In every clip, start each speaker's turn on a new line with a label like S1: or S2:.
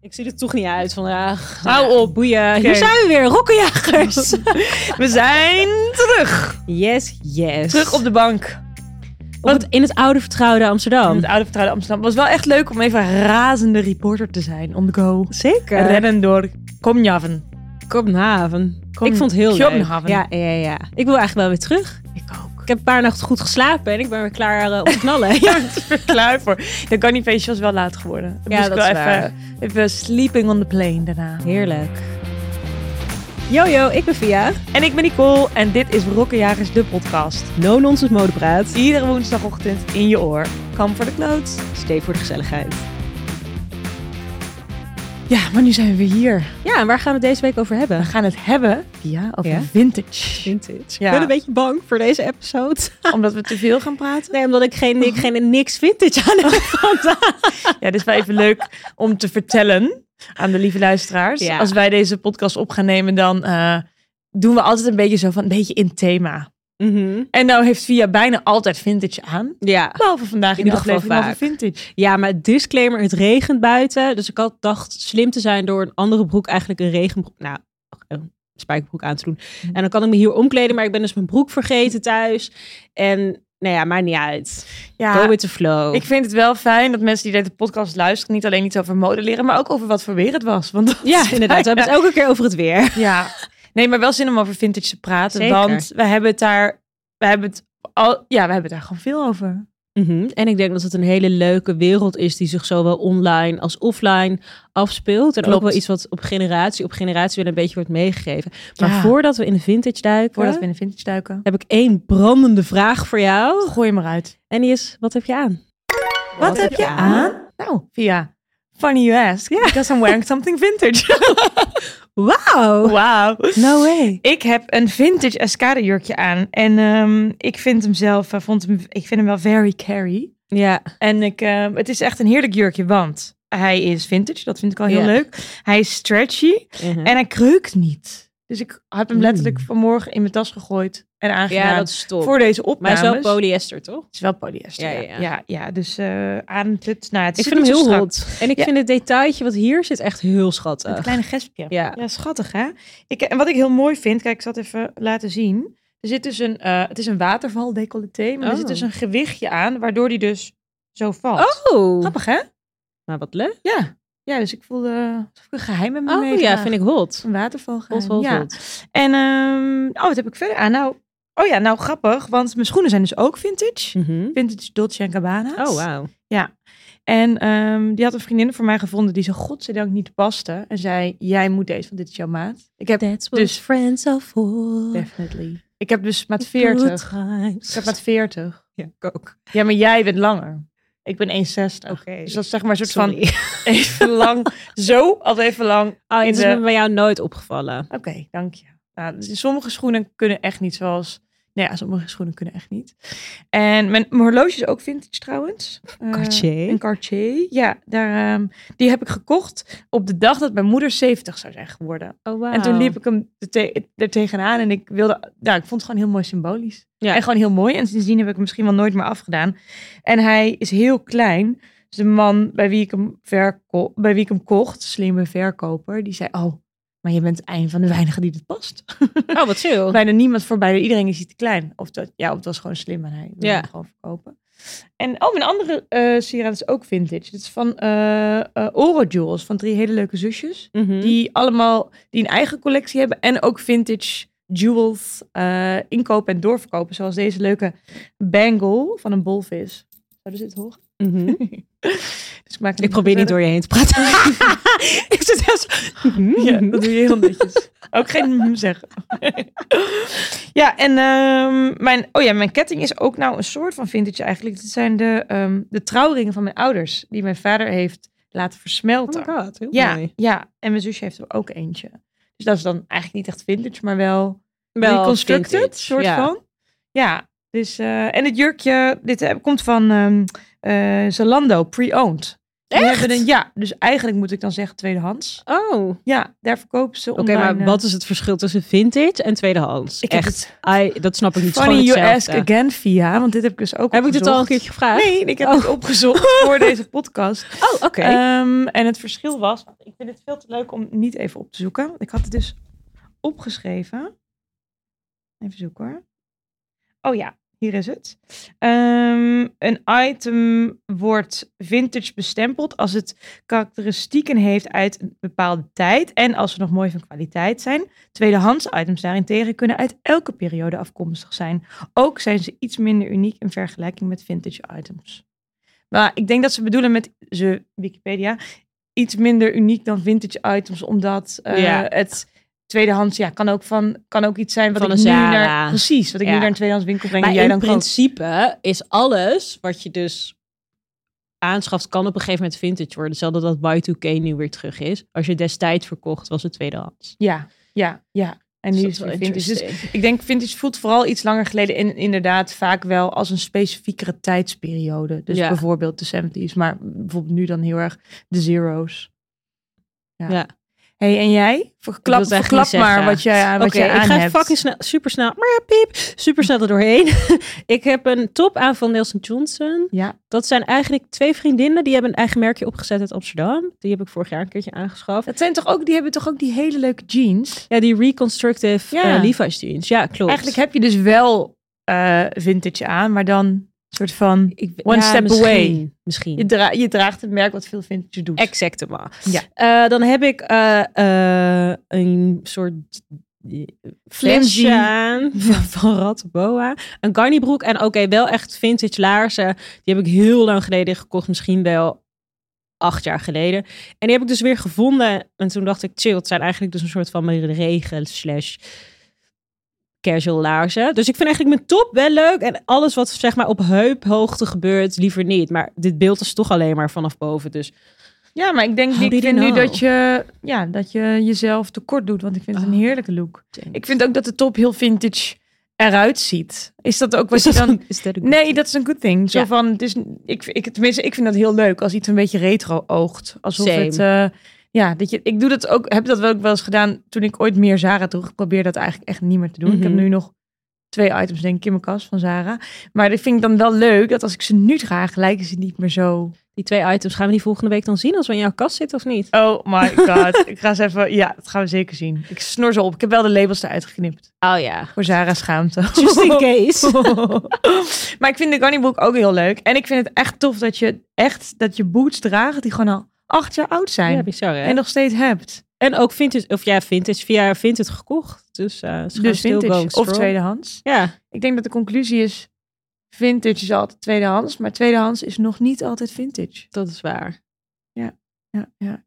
S1: Ik zie er toch niet uit vandaag. Hou op, boeien. Hier zijn we weer, rokkenjagers.
S2: We zijn terug.
S1: yes, yes. Hm.
S2: Terug op de bank.
S1: Op het- in het oude vertrouwde Amsterdam.
S2: In het oude vertrouwde Amsterdam. Het was wel echt leuk om even een razende reporter te zijn. On the go.
S1: Zeker.
S2: Rennen door Komjaven.
S1: Kopenhagen.
S2: Kom-
S1: ik vond het heel
S2: Kopenhagen.
S1: leuk. Ja, ja, ja. Ik wil eigenlijk wel weer terug.
S2: Ik ook.
S1: Ik heb een paar nachten goed geslapen en ik ben weer klaar eh, om te knallen. ja.
S2: Klaar voor. De carnifeestje was wel laat geworden. Dan
S1: Ja,
S2: moest ik
S1: dat
S2: wel
S1: is waar.
S2: even, even sleeping on the plane daarna.
S1: Heerlijk. Yo, yo, ik ben Via.
S2: En ik ben Nicole en dit is Rokkenjagers, de podcast.
S1: No Nonsense Modepraat.
S2: Iedere woensdagochtend in je oor. Kam voor de knoot.
S1: Steef voor de gezelligheid.
S2: Ja, maar nu zijn we hier.
S1: Ja, en waar gaan we het deze week over
S2: We
S1: hebben?
S2: gaan het hebben, ja, over
S1: Ja?
S2: vintage.
S1: Vintage.
S2: Ja.
S1: Ik ben een beetje bang voor deze episode.
S2: Omdat we te veel gaan praten.
S1: Nee, omdat ik geen, ik geen niks vintage aan heb vandaag.
S2: Ja, dit is wel even leuk om te vertellen aan de lieve luisteraars.
S1: Ja.
S2: Als wij deze podcast op gaan nemen, dan eh, doen we altijd een beetje zo van een beetje in thema.
S1: Mhm.
S2: En nou heeft Via bijna altijd vintage aan.
S1: Ja.
S2: Behalve vandaag in,
S1: In
S2: de
S1: ieder geval
S2: aflevering over
S1: vaak.
S2: vintage.
S1: ja, maar disclaimer, het regent buiten. Dus ik had dacht slim te zijn door een andere broek eigenlijk een regenbroek, nou, een spijkerbroek aan te doen. En dan kan ik me hier omkleden, maar ik ben dus mijn broek vergeten thuis. En nou ja, maakt niet uit. Go
S2: Ja,
S1: with the flow.
S2: ik vind het wel fijn dat mensen die deze podcast luisteren niet alleen iets over mode leren, maar ook over wat voor weer het was. Want dat
S1: ja,
S2: is
S1: inderdaad. We hebben het elke keer over het weer.
S2: Ja, nee, maar wel zin om over vintage te praten.
S1: Zeker.
S2: Want we hebben het daar, we hebben het al, ja, we hebben het daar gewoon veel over.
S1: Mhm. En ik denk dat het een hele leuke wereld is die zich zowel online als offline afspeelt. En ook
S2: Klopt.
S1: wel iets wat op generatie op generatie weer een beetje wordt meegegeven. Maar
S2: Ja.
S1: voordat we in de vintage duiken,
S2: Voordat we in de vintage duiken.
S1: heb ik één brandende vraag voor jou.
S2: Gooi hem eruit.
S1: En die is, wat heb je aan?
S2: Wat, heb je aan? Nou, via Funny You Ask. Because I'm wearing something vintage.
S1: Wauw!
S2: Wauw.
S1: No way!
S2: Ik heb een vintage Escada jurkje aan. En ehm, ik vind hem zelf, eh, vond hem, ik vind hem wel very carry.
S1: Ja,
S2: En ik, ehm, het is echt een heerlijk jurkje, want hij is vintage. Dat vind ik al heel
S1: Ja.
S2: leuk. Hij is stretchy
S1: Mhm.
S2: en hij kreukt niet. Dus ik heb hem letterlijk vanmorgen in mijn tas gegooid en aangedaan.
S1: Mm. ja dat is top.
S2: voor deze
S1: maar
S2: opnames.
S1: het is wel polyester, toch?
S2: Het is wel polyester.
S1: Ja,
S2: Ja,
S1: ja,
S2: ja,
S1: ja.
S2: ja. dus eh aan het. Nou, het
S1: Ik
S2: zit
S1: vind hem
S2: niet zo
S1: heel
S2: strak.
S1: hot. En ik
S2: Ja.
S1: vind het detailtje wat hier zit echt heel schattig.
S2: Het kleine gespje.
S1: Ja.
S2: schattig hè. Ik, en wat ik heel mooi vind, kijk, ik zal het even laten zien. Er zit dus een, eh, het is een waterval decolleté, maar er
S1: Oh.
S2: zit dus een gewichtje aan, waardoor die dus zo valt.
S1: Oh!
S2: Grappig hè?
S1: Maar wat leuk.
S2: Ja. Ja, dus ik voelde eh, alsof ik een geheim met me
S1: Oh ja, vind ik hot.
S2: Een waterval geheim.
S1: Hot, hot,
S2: ja.
S1: hot.
S2: En ehm, oh, wat heb ik verder aan? Nou, oh ja, nou grappig, want mijn schoenen zijn dus ook vintage.
S1: Mhm.
S2: Vintage Dolce Gabbana.
S1: Oh, wauw.
S2: En ehm, die had een vriendin voor mij gevonden die ze godzijdank niet paste. En zei, jij moet deze, want dit is jouw maat. Ik heb
S1: That's
S2: what Dus-
S1: friends are for.
S2: Definitely. Ik heb dus maat 40. Ik heb maat 40.
S1: Ja, ik ook.
S2: Ja, maar jij bent langer. Ik ben 1,60.
S1: Oké.
S2: Dus dat is zeg maar een soort
S1: Sorry.
S2: van even lang. Zo, als even lang.
S1: Oh, het
S2: in
S1: is
S2: de-
S1: me bij jou nooit opgevallen.
S2: Oké, dank je. Nou, dus sommige schoenen kunnen echt niet zoals... Nou ja, sommige schoenen kunnen echt niet. En mijn, mijn horloge is ook vintage trouwens. Eh,
S1: Cartier.
S2: Een Cartier, ja. Daar, ehm, die heb ik gekocht op de dag dat mijn moeder 70 zou zijn geworden.
S1: Oh, wow.
S2: En toen liep ik hem er, te- er tegenaan en ik wilde, nou, ik vond het gewoon heel mooi symbolisch.
S1: Ja.
S2: En gewoon heel mooi. En sindsdien heb ik hem misschien wel nooit meer afgedaan. En hij is heel klein. Dus de man bij wie ik hem, verko- bij wie ik hem kocht, slimme verkoper, die zei, oh, maar je bent een van de weinigen die dit past.
S1: Oh, wat chill.
S2: bijna niemand voor, bijna iedereen is hij te klein. Of dat, ja, of het was gewoon slim en hij wilde
S1: Ja.
S2: hem gewoon verkopen. En oh, mijn andere eh sieraad is ook vintage. Het is van eh eh, Oro Jewels, van drie hele leuke zusjes
S1: Mhm.
S2: die allemaal die een eigen collectie hebben en ook vintage jewels eh, inkopen en doorverkopen, zoals deze leuke bangle van een bolvis. Zouden ze dit horen?
S1: Mhm.
S2: Dus ik, maak
S1: Ik probeer niet door je heen te praten. ik zit heel zo- Mhm.
S2: Ja, dat doe je heel netjes. Ook geen mm zeggen. ja, en ehm, mijn, oh ja, mijn ketting is ook nou een soort van vintage eigenlijk. Dit zijn de, ehm, de trouwringen van mijn ouders, die mijn vader heeft laten
S1: Oh
S2: versmelten.
S1: my god, heel
S2: ja,
S1: mooi.
S2: ja, en mijn zusje heeft er ook eentje. Dus dat is dan eigenlijk niet echt vintage, maar wel reconstructed,
S1: vintage,
S2: soort
S1: ja.
S2: van. Ja, dus eh, en het jurkje, dit eh, komt van ehm, eh, Zalando, pre-owned. Die
S1: Echt?
S2: hebben een- ja, dus eigenlijk moet ik dan zeggen tweedehands.
S1: Oh, oké,
S2: Ja, daar verkopen ze online.
S1: maar
S2: eh,
S1: wat is het verschil tussen vintage en tweedehands?
S2: ik heb
S1: Echt,
S2: het-
S1: I- dat snap ik niet. Het is
S2: funny
S1: gewoon
S2: you ask
S1: hetzelfde.
S2: again via, want dit heb ik dus ook
S1: Heb ik dit al een
S2: opgezocht.
S1: keertje gevraagd?
S2: Nee, ik heb
S1: Oh.
S2: het opgezocht voor deze podcast.
S1: Oh, oké.
S2: Ehm, en het verschil was, ik vind het veel te leuk om niet even op te zoeken. Ik had het dus opgeschreven. Even zoeken hoor. Oh ja, hier is het. Ehm, een item wordt vintage bestempeld als het karakteristieken heeft uit een bepaalde tijd en als ze nog mooi van kwaliteit zijn. Tweedehands items daarentegen kunnen uit elke periode afkomstig zijn. Ook zijn ze iets minder uniek in vergelijking met vintage items. Maar ik denk dat ze bedoelen met ze Wikipedia iets minder uniek dan vintage items, omdat eh,
S1: Ja.
S2: het tweedehands ja kan ook van kan ook iets zijn wat
S1: Van
S2: ik
S1: een
S2: nu
S1: Zara.
S2: naar precies wat ik nu
S1: Ja.
S2: naar een tweedehands winkel breng en
S1: Maar
S2: jij
S1: in
S2: dan koopt.
S1: principe is alles wat je dus aanschaft, kan op een gegeven moment vintage worden. Hetzelfde dat Y2K nu weer terug is. Als je destijds verkocht, was het tweedehands.
S2: Ja, ja, ja. En nu is het weer vintage. Dus ik denk vintage voelt vooral iets langer geleden en inderdaad vaak wel als een specifiekere tijdsperiode. Dus
S1: Ja.
S2: bijvoorbeeld de 70s, maar bijvoorbeeld nu dan heel erg de zeros. Ja.
S1: Ja.
S2: hey, en jij? Verklap,
S1: het eigenlijk
S2: verklap
S1: niet zeggen.
S2: maar wat jij, wat
S1: Oké,
S2: jij aan
S1: ik ga
S2: hebt.
S1: fucking snel, super snel, maar piep, super snel er doorheen. ik heb een top aan van Nelson Johnson.
S2: Ja,
S1: Dat zijn eigenlijk twee vriendinnen die hebben een eigen merkje opgezet uit Amsterdam. Die heb ik vorig jaar een keertje aangeschaft.
S2: dat zijn toch ook, die hebben toch ook die hele leuke jeans?
S1: Ja, die reconstructive
S2: Ja.
S1: eh, Levi's jeans. Ja, klopt.
S2: Eigenlijk heb je dus wel eh, vintage aan, maar dan een soort van...
S1: ik,
S2: one step
S1: misschien,
S2: away.
S1: Misschien.
S2: Je, dra- je draagt het merk wat veel vintage doet.
S1: Exactement.
S2: Ja.
S1: Eh, dan heb ik eh, eh, een soort
S2: Flimsy.
S1: flesje aan van, van Rattenboa. Een Garni broek en oké, wel echt vintage laarzen. Die heb ik heel lang geleden gekocht, misschien wel acht jaar geleden. En die heb ik dus weer gevonden. En toen dacht ik, chill, het zijn eigenlijk dus een soort van mijn regen slash casual laarzen. Dus ik vind eigenlijk mijn top wel leuk. En alles wat zeg maar op heuphoogte gebeurt, liever niet. Maar dit beeld is toch alleen maar vanaf boven. Dus
S2: Ja, maar ik denk
S1: How
S2: ik
S1: did he
S2: vind nu
S1: know?
S2: dat je, ja, dat je jezelf tekort doet. Want ik vind het een
S1: Oh.
S2: heerlijke look. Ik vind ook dat de top heel vintage eruit ziet. Is dat ook wat je dan...
S1: is dat
S2: Nee, dat is een good thing. Zo
S1: Ja.
S2: van, het is, ik, ik, tenminste, ik vind dat heel leuk als iets een beetje retro oogt. Alsof
S1: Same.
S2: het... eh, ja, dat je, ik doe dat ook, heb dat wel ook wel eens gedaan toen ik ooit meer Zara droeg. Ik probeer dat eigenlijk echt niet meer te doen. Ik
S1: Mhm.
S2: heb nu nog twee items denk ik in mijn kast van Zara. Maar dat vind ik dan wel leuk dat als ik ze nu draag, lijken ze niet meer zo...
S1: Die twee items gaan we die volgende week dan zien als we in jouw kast zitten of niet?
S2: Oh my god. ik ga eens even... Ja, dat gaan we zeker zien. Ik snor ze op. Ik heb wel de labels eruit geknipt.
S1: Oh ja.
S2: Voor Zara schaamte.
S1: Just in case.
S2: maar ik vind de Gunny Book ook heel leuk. En ik vind het echt tof dat je, echt, dat je boots draagt die gewoon al acht jaar oud zijn.
S1: Ja, bizar hè?
S2: en nog steeds hebt.
S1: En ook vintage, of ja, vintage, via vintage gekocht. Dus, eh is gewoon
S2: Dus
S1: still going
S2: vintage of
S1: strong.
S2: tweedehands.
S1: Ja,
S2: Ik denk dat de conclusie is... Vintage is altijd tweedehands. Maar tweedehands is nog niet altijd vintage.
S1: dat is waar.
S2: ja, ja. ja.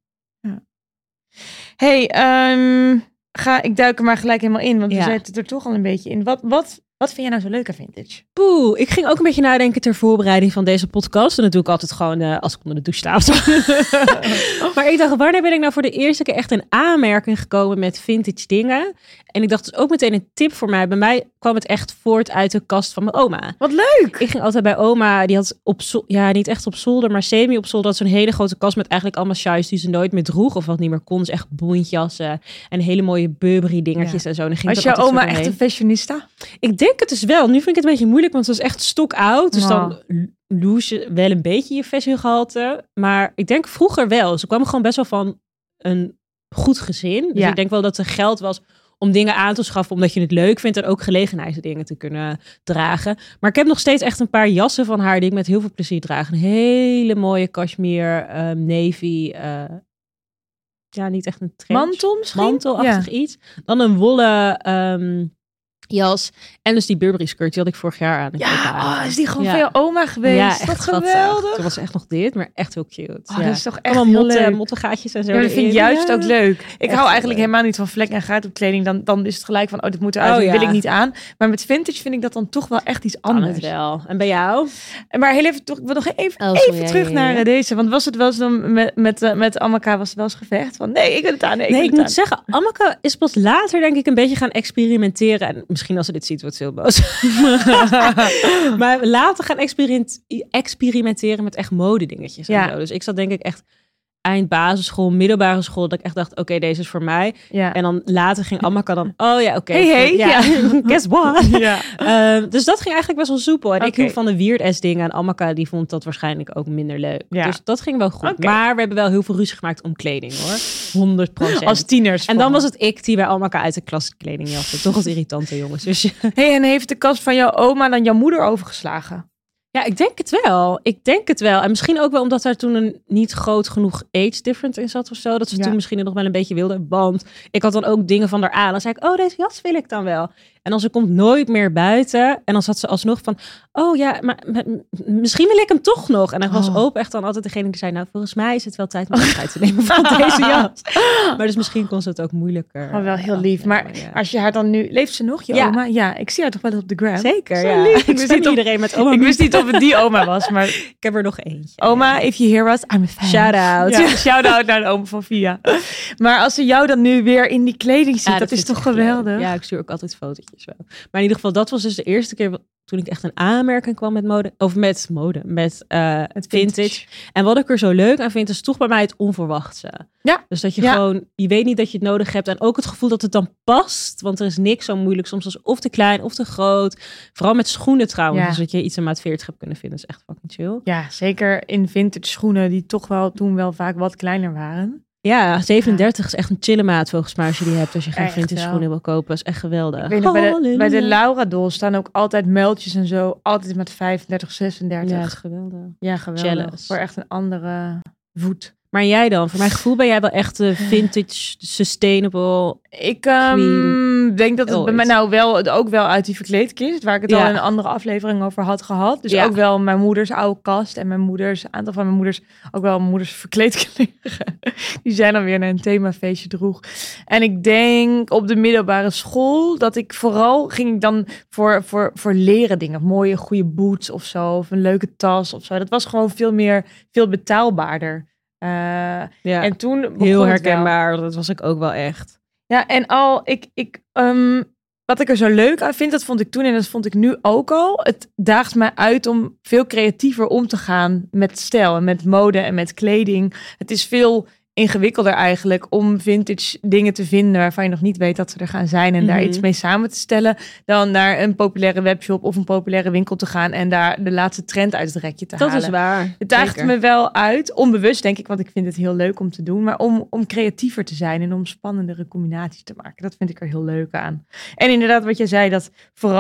S2: Hey, ehm, ga, ik duik er maar gelijk helemaal in, want
S1: Ja.
S2: we zitten het er toch al een beetje in. Wat, wat, wat vind jij nou zo leuk aan vintage?
S1: Poeh, ik ging ook een beetje nadenken ter voorbereiding van deze podcast. En dat doe ik altijd gewoon eh, als ik onder de douche sta. of zo. maar ik dacht, wanneer ben ik nou voor de eerste keer echt in aanmerking gekomen met vintage dingen? En ik dacht dus ook meteen een tip voor mij. Bij mij kwam het echt voort uit de kast van mijn oma.
S2: Wat leuk!
S1: Ik ging altijd bij oma, die had op zo- ja, niet echt op zolder, maar semi op zolder, had zo'n hele grote kast met eigenlijk allemaal sjaars die ze nooit meer droeg of wat niet meer kon. Dus echt bontjassen en hele mooie Burberry dingetjes en zo. En dan ging
S2: Was
S1: ik
S2: jouw
S1: er altijd
S2: oma
S1: zo
S2: echt een
S1: doorheen.
S2: fashionista?
S1: Ik denk het dus wel. Nu vind ik het een beetje moeilijk, want ze was echt stokoud. Dus
S2: Ja.
S1: dan loes je wel een beetje je fashiongehalte. Maar ik denk vroeger wel. Ze kwam gewoon best wel van een goed gezin. Dus
S2: Ja.
S1: ik denk wel dat er geld was om dingen aan te schaffen omdat je het leuk vindt en ook gelegenheidsdingen te kunnen dragen. Maar ik heb nog steeds echt een paar jassen van haar die ik met heel veel plezier draag. Een hele mooie cashmere, ehm, navy, eh, ja niet echt een trend.
S2: Mantel misschien?
S1: Mantelachtig iets. Dan een wollen ehm, jas en dus die Burberry skirt die had ik vorig jaar aan. Ik weet
S2: Ja,
S1: haar.
S2: oh, is die gewoon
S1: Ja.
S2: van jouw oma geweest?
S1: Ja,
S2: is
S1: echt
S2: dat
S1: schattig.
S2: geweldig?
S1: Toen was echt nog dit, maar echt heel cute.
S2: Oh,
S1: ja.
S2: Dat is toch echt
S1: Allemaal
S2: heel
S1: motten,
S2: leuk.
S1: mottengaatjes en zo.
S2: Ja, maar dat vind ik
S1: erin.
S2: juist
S1: Ja.
S2: ook leuk. Ik
S1: Echt
S2: hou
S1: heel
S2: eigenlijk
S1: leuk.
S2: helemaal niet van vlek en gaat op kleding. Dan, dan is het gelijk van, oh, dit moet eruit,
S1: Oh,
S2: dit wil
S1: ja.
S2: ik niet aan. Maar met vintage vind ik dat dan toch wel echt iets
S1: Kan
S2: anders.
S1: het wel. En bij jou?
S2: Maar heel even, toch- ik wil nog even
S1: Oh, sorry,
S2: even
S1: ja,
S2: terug
S1: ja,
S2: naar
S1: ja.
S2: eh, deze. Want was het wel eens dan met, met, eh, met Amaka was het wel eens gevecht? Van nee, ik wil het aan. Nee, ik,
S1: nee,
S2: wil
S1: ik
S2: het
S1: moet
S2: aan.
S1: zeggen, Amaka is pas later denk ik een beetje gaan experimenteren. En misschien als ze dit ziet, wordt ze heel boos. maar later gaan experiment- experimenteren met echt modedingetjes
S2: Ja.
S1: en zo. Dus ik zat denk ik echt eind basisschool, middelbare school, dat ik echt dacht, oké, deze is voor mij.
S2: Ja.
S1: En dan later ging Amaka dan, oh ja, oké.
S2: Hey, hey,
S1: ja.
S2: ja.
S1: Guess what?
S2: ja.
S1: Ehm, dus dat ging eigenlijk best wel soepel. En ik
S2: Oké.
S1: hield van de weird-ass dingen. En Amaka die vond dat waarschijnlijk ook minder leuk.
S2: Ja.
S1: Dus dat ging wel goed.
S2: Oké.
S1: Maar we hebben wel heel veel ruzie gemaakt om kleding hoor. 100
S2: Als tieners.
S1: En dan was het ik die bij Amaka uit de klas kleding jatte. Toch wat irritante jongens. Dus
S2: hey, en heeft de kast van jouw oma dan jouw moeder overgeslagen?
S1: ja, ik denk het wel. Ik denk het wel. En misschien ook wel omdat daar toen een niet groot genoeg age difference in zat of zo. Dat ze
S2: Ja.
S1: toen misschien het nog wel een beetje wilde. Want ik had dan ook dingen van haar aan. Dan zei ik, oh, deze jas wil ik dan wel. En dan ze komt nooit meer buiten. En dan zat ze alsnog van, oh ja, maar m- m- misschien wil ik hem toch nog. En dan was
S2: Oh.
S1: open echt dan altijd degene die zei, nou, volgens mij is het wel tijd om afscheid te nemen van deze jas. Maar dus misschien kon ze het ook moeilijker.
S2: Oh, wel heel lief. Maar
S1: afnemen, ja.
S2: als je haar dan nu... Leeft ze nog, je
S1: Ja.
S2: oma? Ja, ik zie haar toch wel op de gram.
S1: Zeker,
S2: Zo
S1: ja.
S2: lief. Ik
S1: Ik
S2: wist
S1: zie
S2: niet of-
S1: iedereen met oma.
S2: Ik
S1: Miek.
S2: wist Oh, niet of het die oma was, maar...
S1: Ik heb er nog eentje.
S2: Oma, if you hear us, I'm a fan.
S1: Shout-out.
S2: Ja, shout-out naar de oom van Via. Maar als ze jou dan nu weer in die kleding ziet,
S1: Ja,
S2: dat, is
S1: vind
S2: toch
S1: ik echt
S2: geweldig?
S1: leuk. Ja, ik stuur ook altijd fotootjes wel. Maar in ieder geval, dat was dus de eerste keer wat- toen ik echt een aanmerking kwam met mode. Of met mode, met eh, vintage. En wat ik er zo leuk aan vind, is toch bij mij het onverwachte.
S2: Ja.
S1: Dus dat je
S2: Ja.
S1: gewoon, je weet niet dat je het nodig hebt. En ook het gevoel dat het dan past. Want er is niks zo moeilijk soms als of te klein of te groot. Vooral met schoenen trouwens.
S2: Ja.
S1: Dus dat je iets in maat 40 hebt kunnen vinden, is echt fucking chill.
S2: Ja, zeker in vintage schoenen die toch wel toen wel vaak wat kleiner waren.
S1: Ja, 37 is echt een chille maat volgens mij als je die hebt. Als je geen
S2: Echt
S1: vintage
S2: wel.
S1: schoenen wil kopen, is echt geweldig.
S2: Ik weet nog, bij de, bij de
S1: Halleluja.
S2: Laura Dol staan ook altijd muiltjes en zo. Altijd met 35, 36.
S1: Ja,
S2: Ja,
S1: is geweldig.
S2: geweldig.
S1: Jealous.
S2: Voor echt een andere voet.
S1: Maar jij dan? Voor mijn gevoel ben jij wel echt de vintage, sustainable.
S2: Ik ehm,
S1: Queen.
S2: denk dat het bij
S1: Always.
S2: mij nou wel, het ook wel uit die verkleedkist, waar ik het al
S1: Ja.
S2: in een andere aflevering over had gehad. Dus
S1: Ja.
S2: ook wel mijn moeders oude kast en mijn moeders, aantal van mijn moeders, ook wel mijn moeders verkleedkleren. die zijn dan weer naar een themafeestje droeg. En ik denk op de middelbare school dat ik vooral ging ik dan voor, voor, voor leren dingen. Mooie, goede boots of zo, of een leuke tas of zo. Dat was gewoon veel meer, veel betaalbaarder. Eh,
S1: Ja,
S2: En toen begon het
S1: heel
S2: wel.
S1: herkenbaar. Dat was ik ook wel echt.
S2: Ja, en al, ik, ik, ehm, wat ik er zo leuk aan vind, dat vond ik toen en dat vond ik nu ook al. Het daagt mij uit om veel creatiever om te gaan met stijl en met mode en met kleding. Het is veel ingewikkelder eigenlijk om vintage dingen te vinden waarvan je nog niet weet dat ze er gaan zijn en daar
S1: Mhm.
S2: iets mee samen te stellen. Dan naar een populaire webshop of een populaire winkel te gaan en daar de laatste trend uit het rekje te
S1: Dat
S2: halen.
S1: is waar.
S2: Het daagt
S1: Zeker.
S2: me wel uit, onbewust denk ik, want ik vind het heel leuk om te doen. Maar om, om creatiever te zijn en om spannendere combinaties te maken, dat vind ik er heel leuk aan. En inderdaad, wat jij zei, dat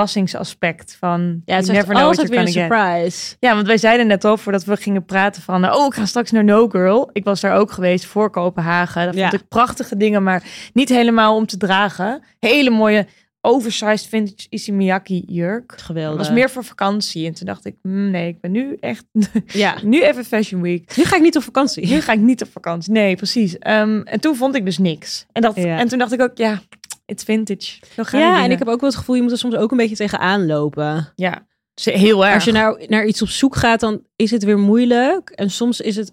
S2: verrassingsaspect van
S1: Ja, het is
S2: you
S1: echt
S2: never know what
S1: altijd
S2: you're
S1: weer een
S2: gonna get.
S1: surprise.
S2: Ja, want wij zeiden net al voordat we gingen praten van, eh, oh, ik ga straks naar No Girl. Ik was daar ook geweest voor Kopenhagen. Dat
S1: Ja.
S2: vond ik prachtige dingen, maar niet helemaal om te dragen. Hele mooie oversized vintage Isimiyaki jurk. Dat
S1: Geweldig.
S2: was meer voor vakantie. En toen dacht ik, "Hmm, nee, ik ben nu echt
S1: Ja.
S2: nu even Fashion Week.
S1: Nu ga ik niet op vakantie.
S2: Nu ga ik niet op vakantie. Nee, precies. Ehm, en toen vond ik dus niks. En, dat,
S1: Ja.
S2: en toen dacht ik ook, ja, it's vintage. Zo gaan die
S1: Ja, en
S2: dingen.
S1: ik heb ook wel het gevoel, je moet er soms ook een beetje tegenaan lopen.
S2: Oh Ja, ze- heel erg.
S1: Als je naar, naar iets op zoek gaat, dan is het weer moeilijk. En soms is het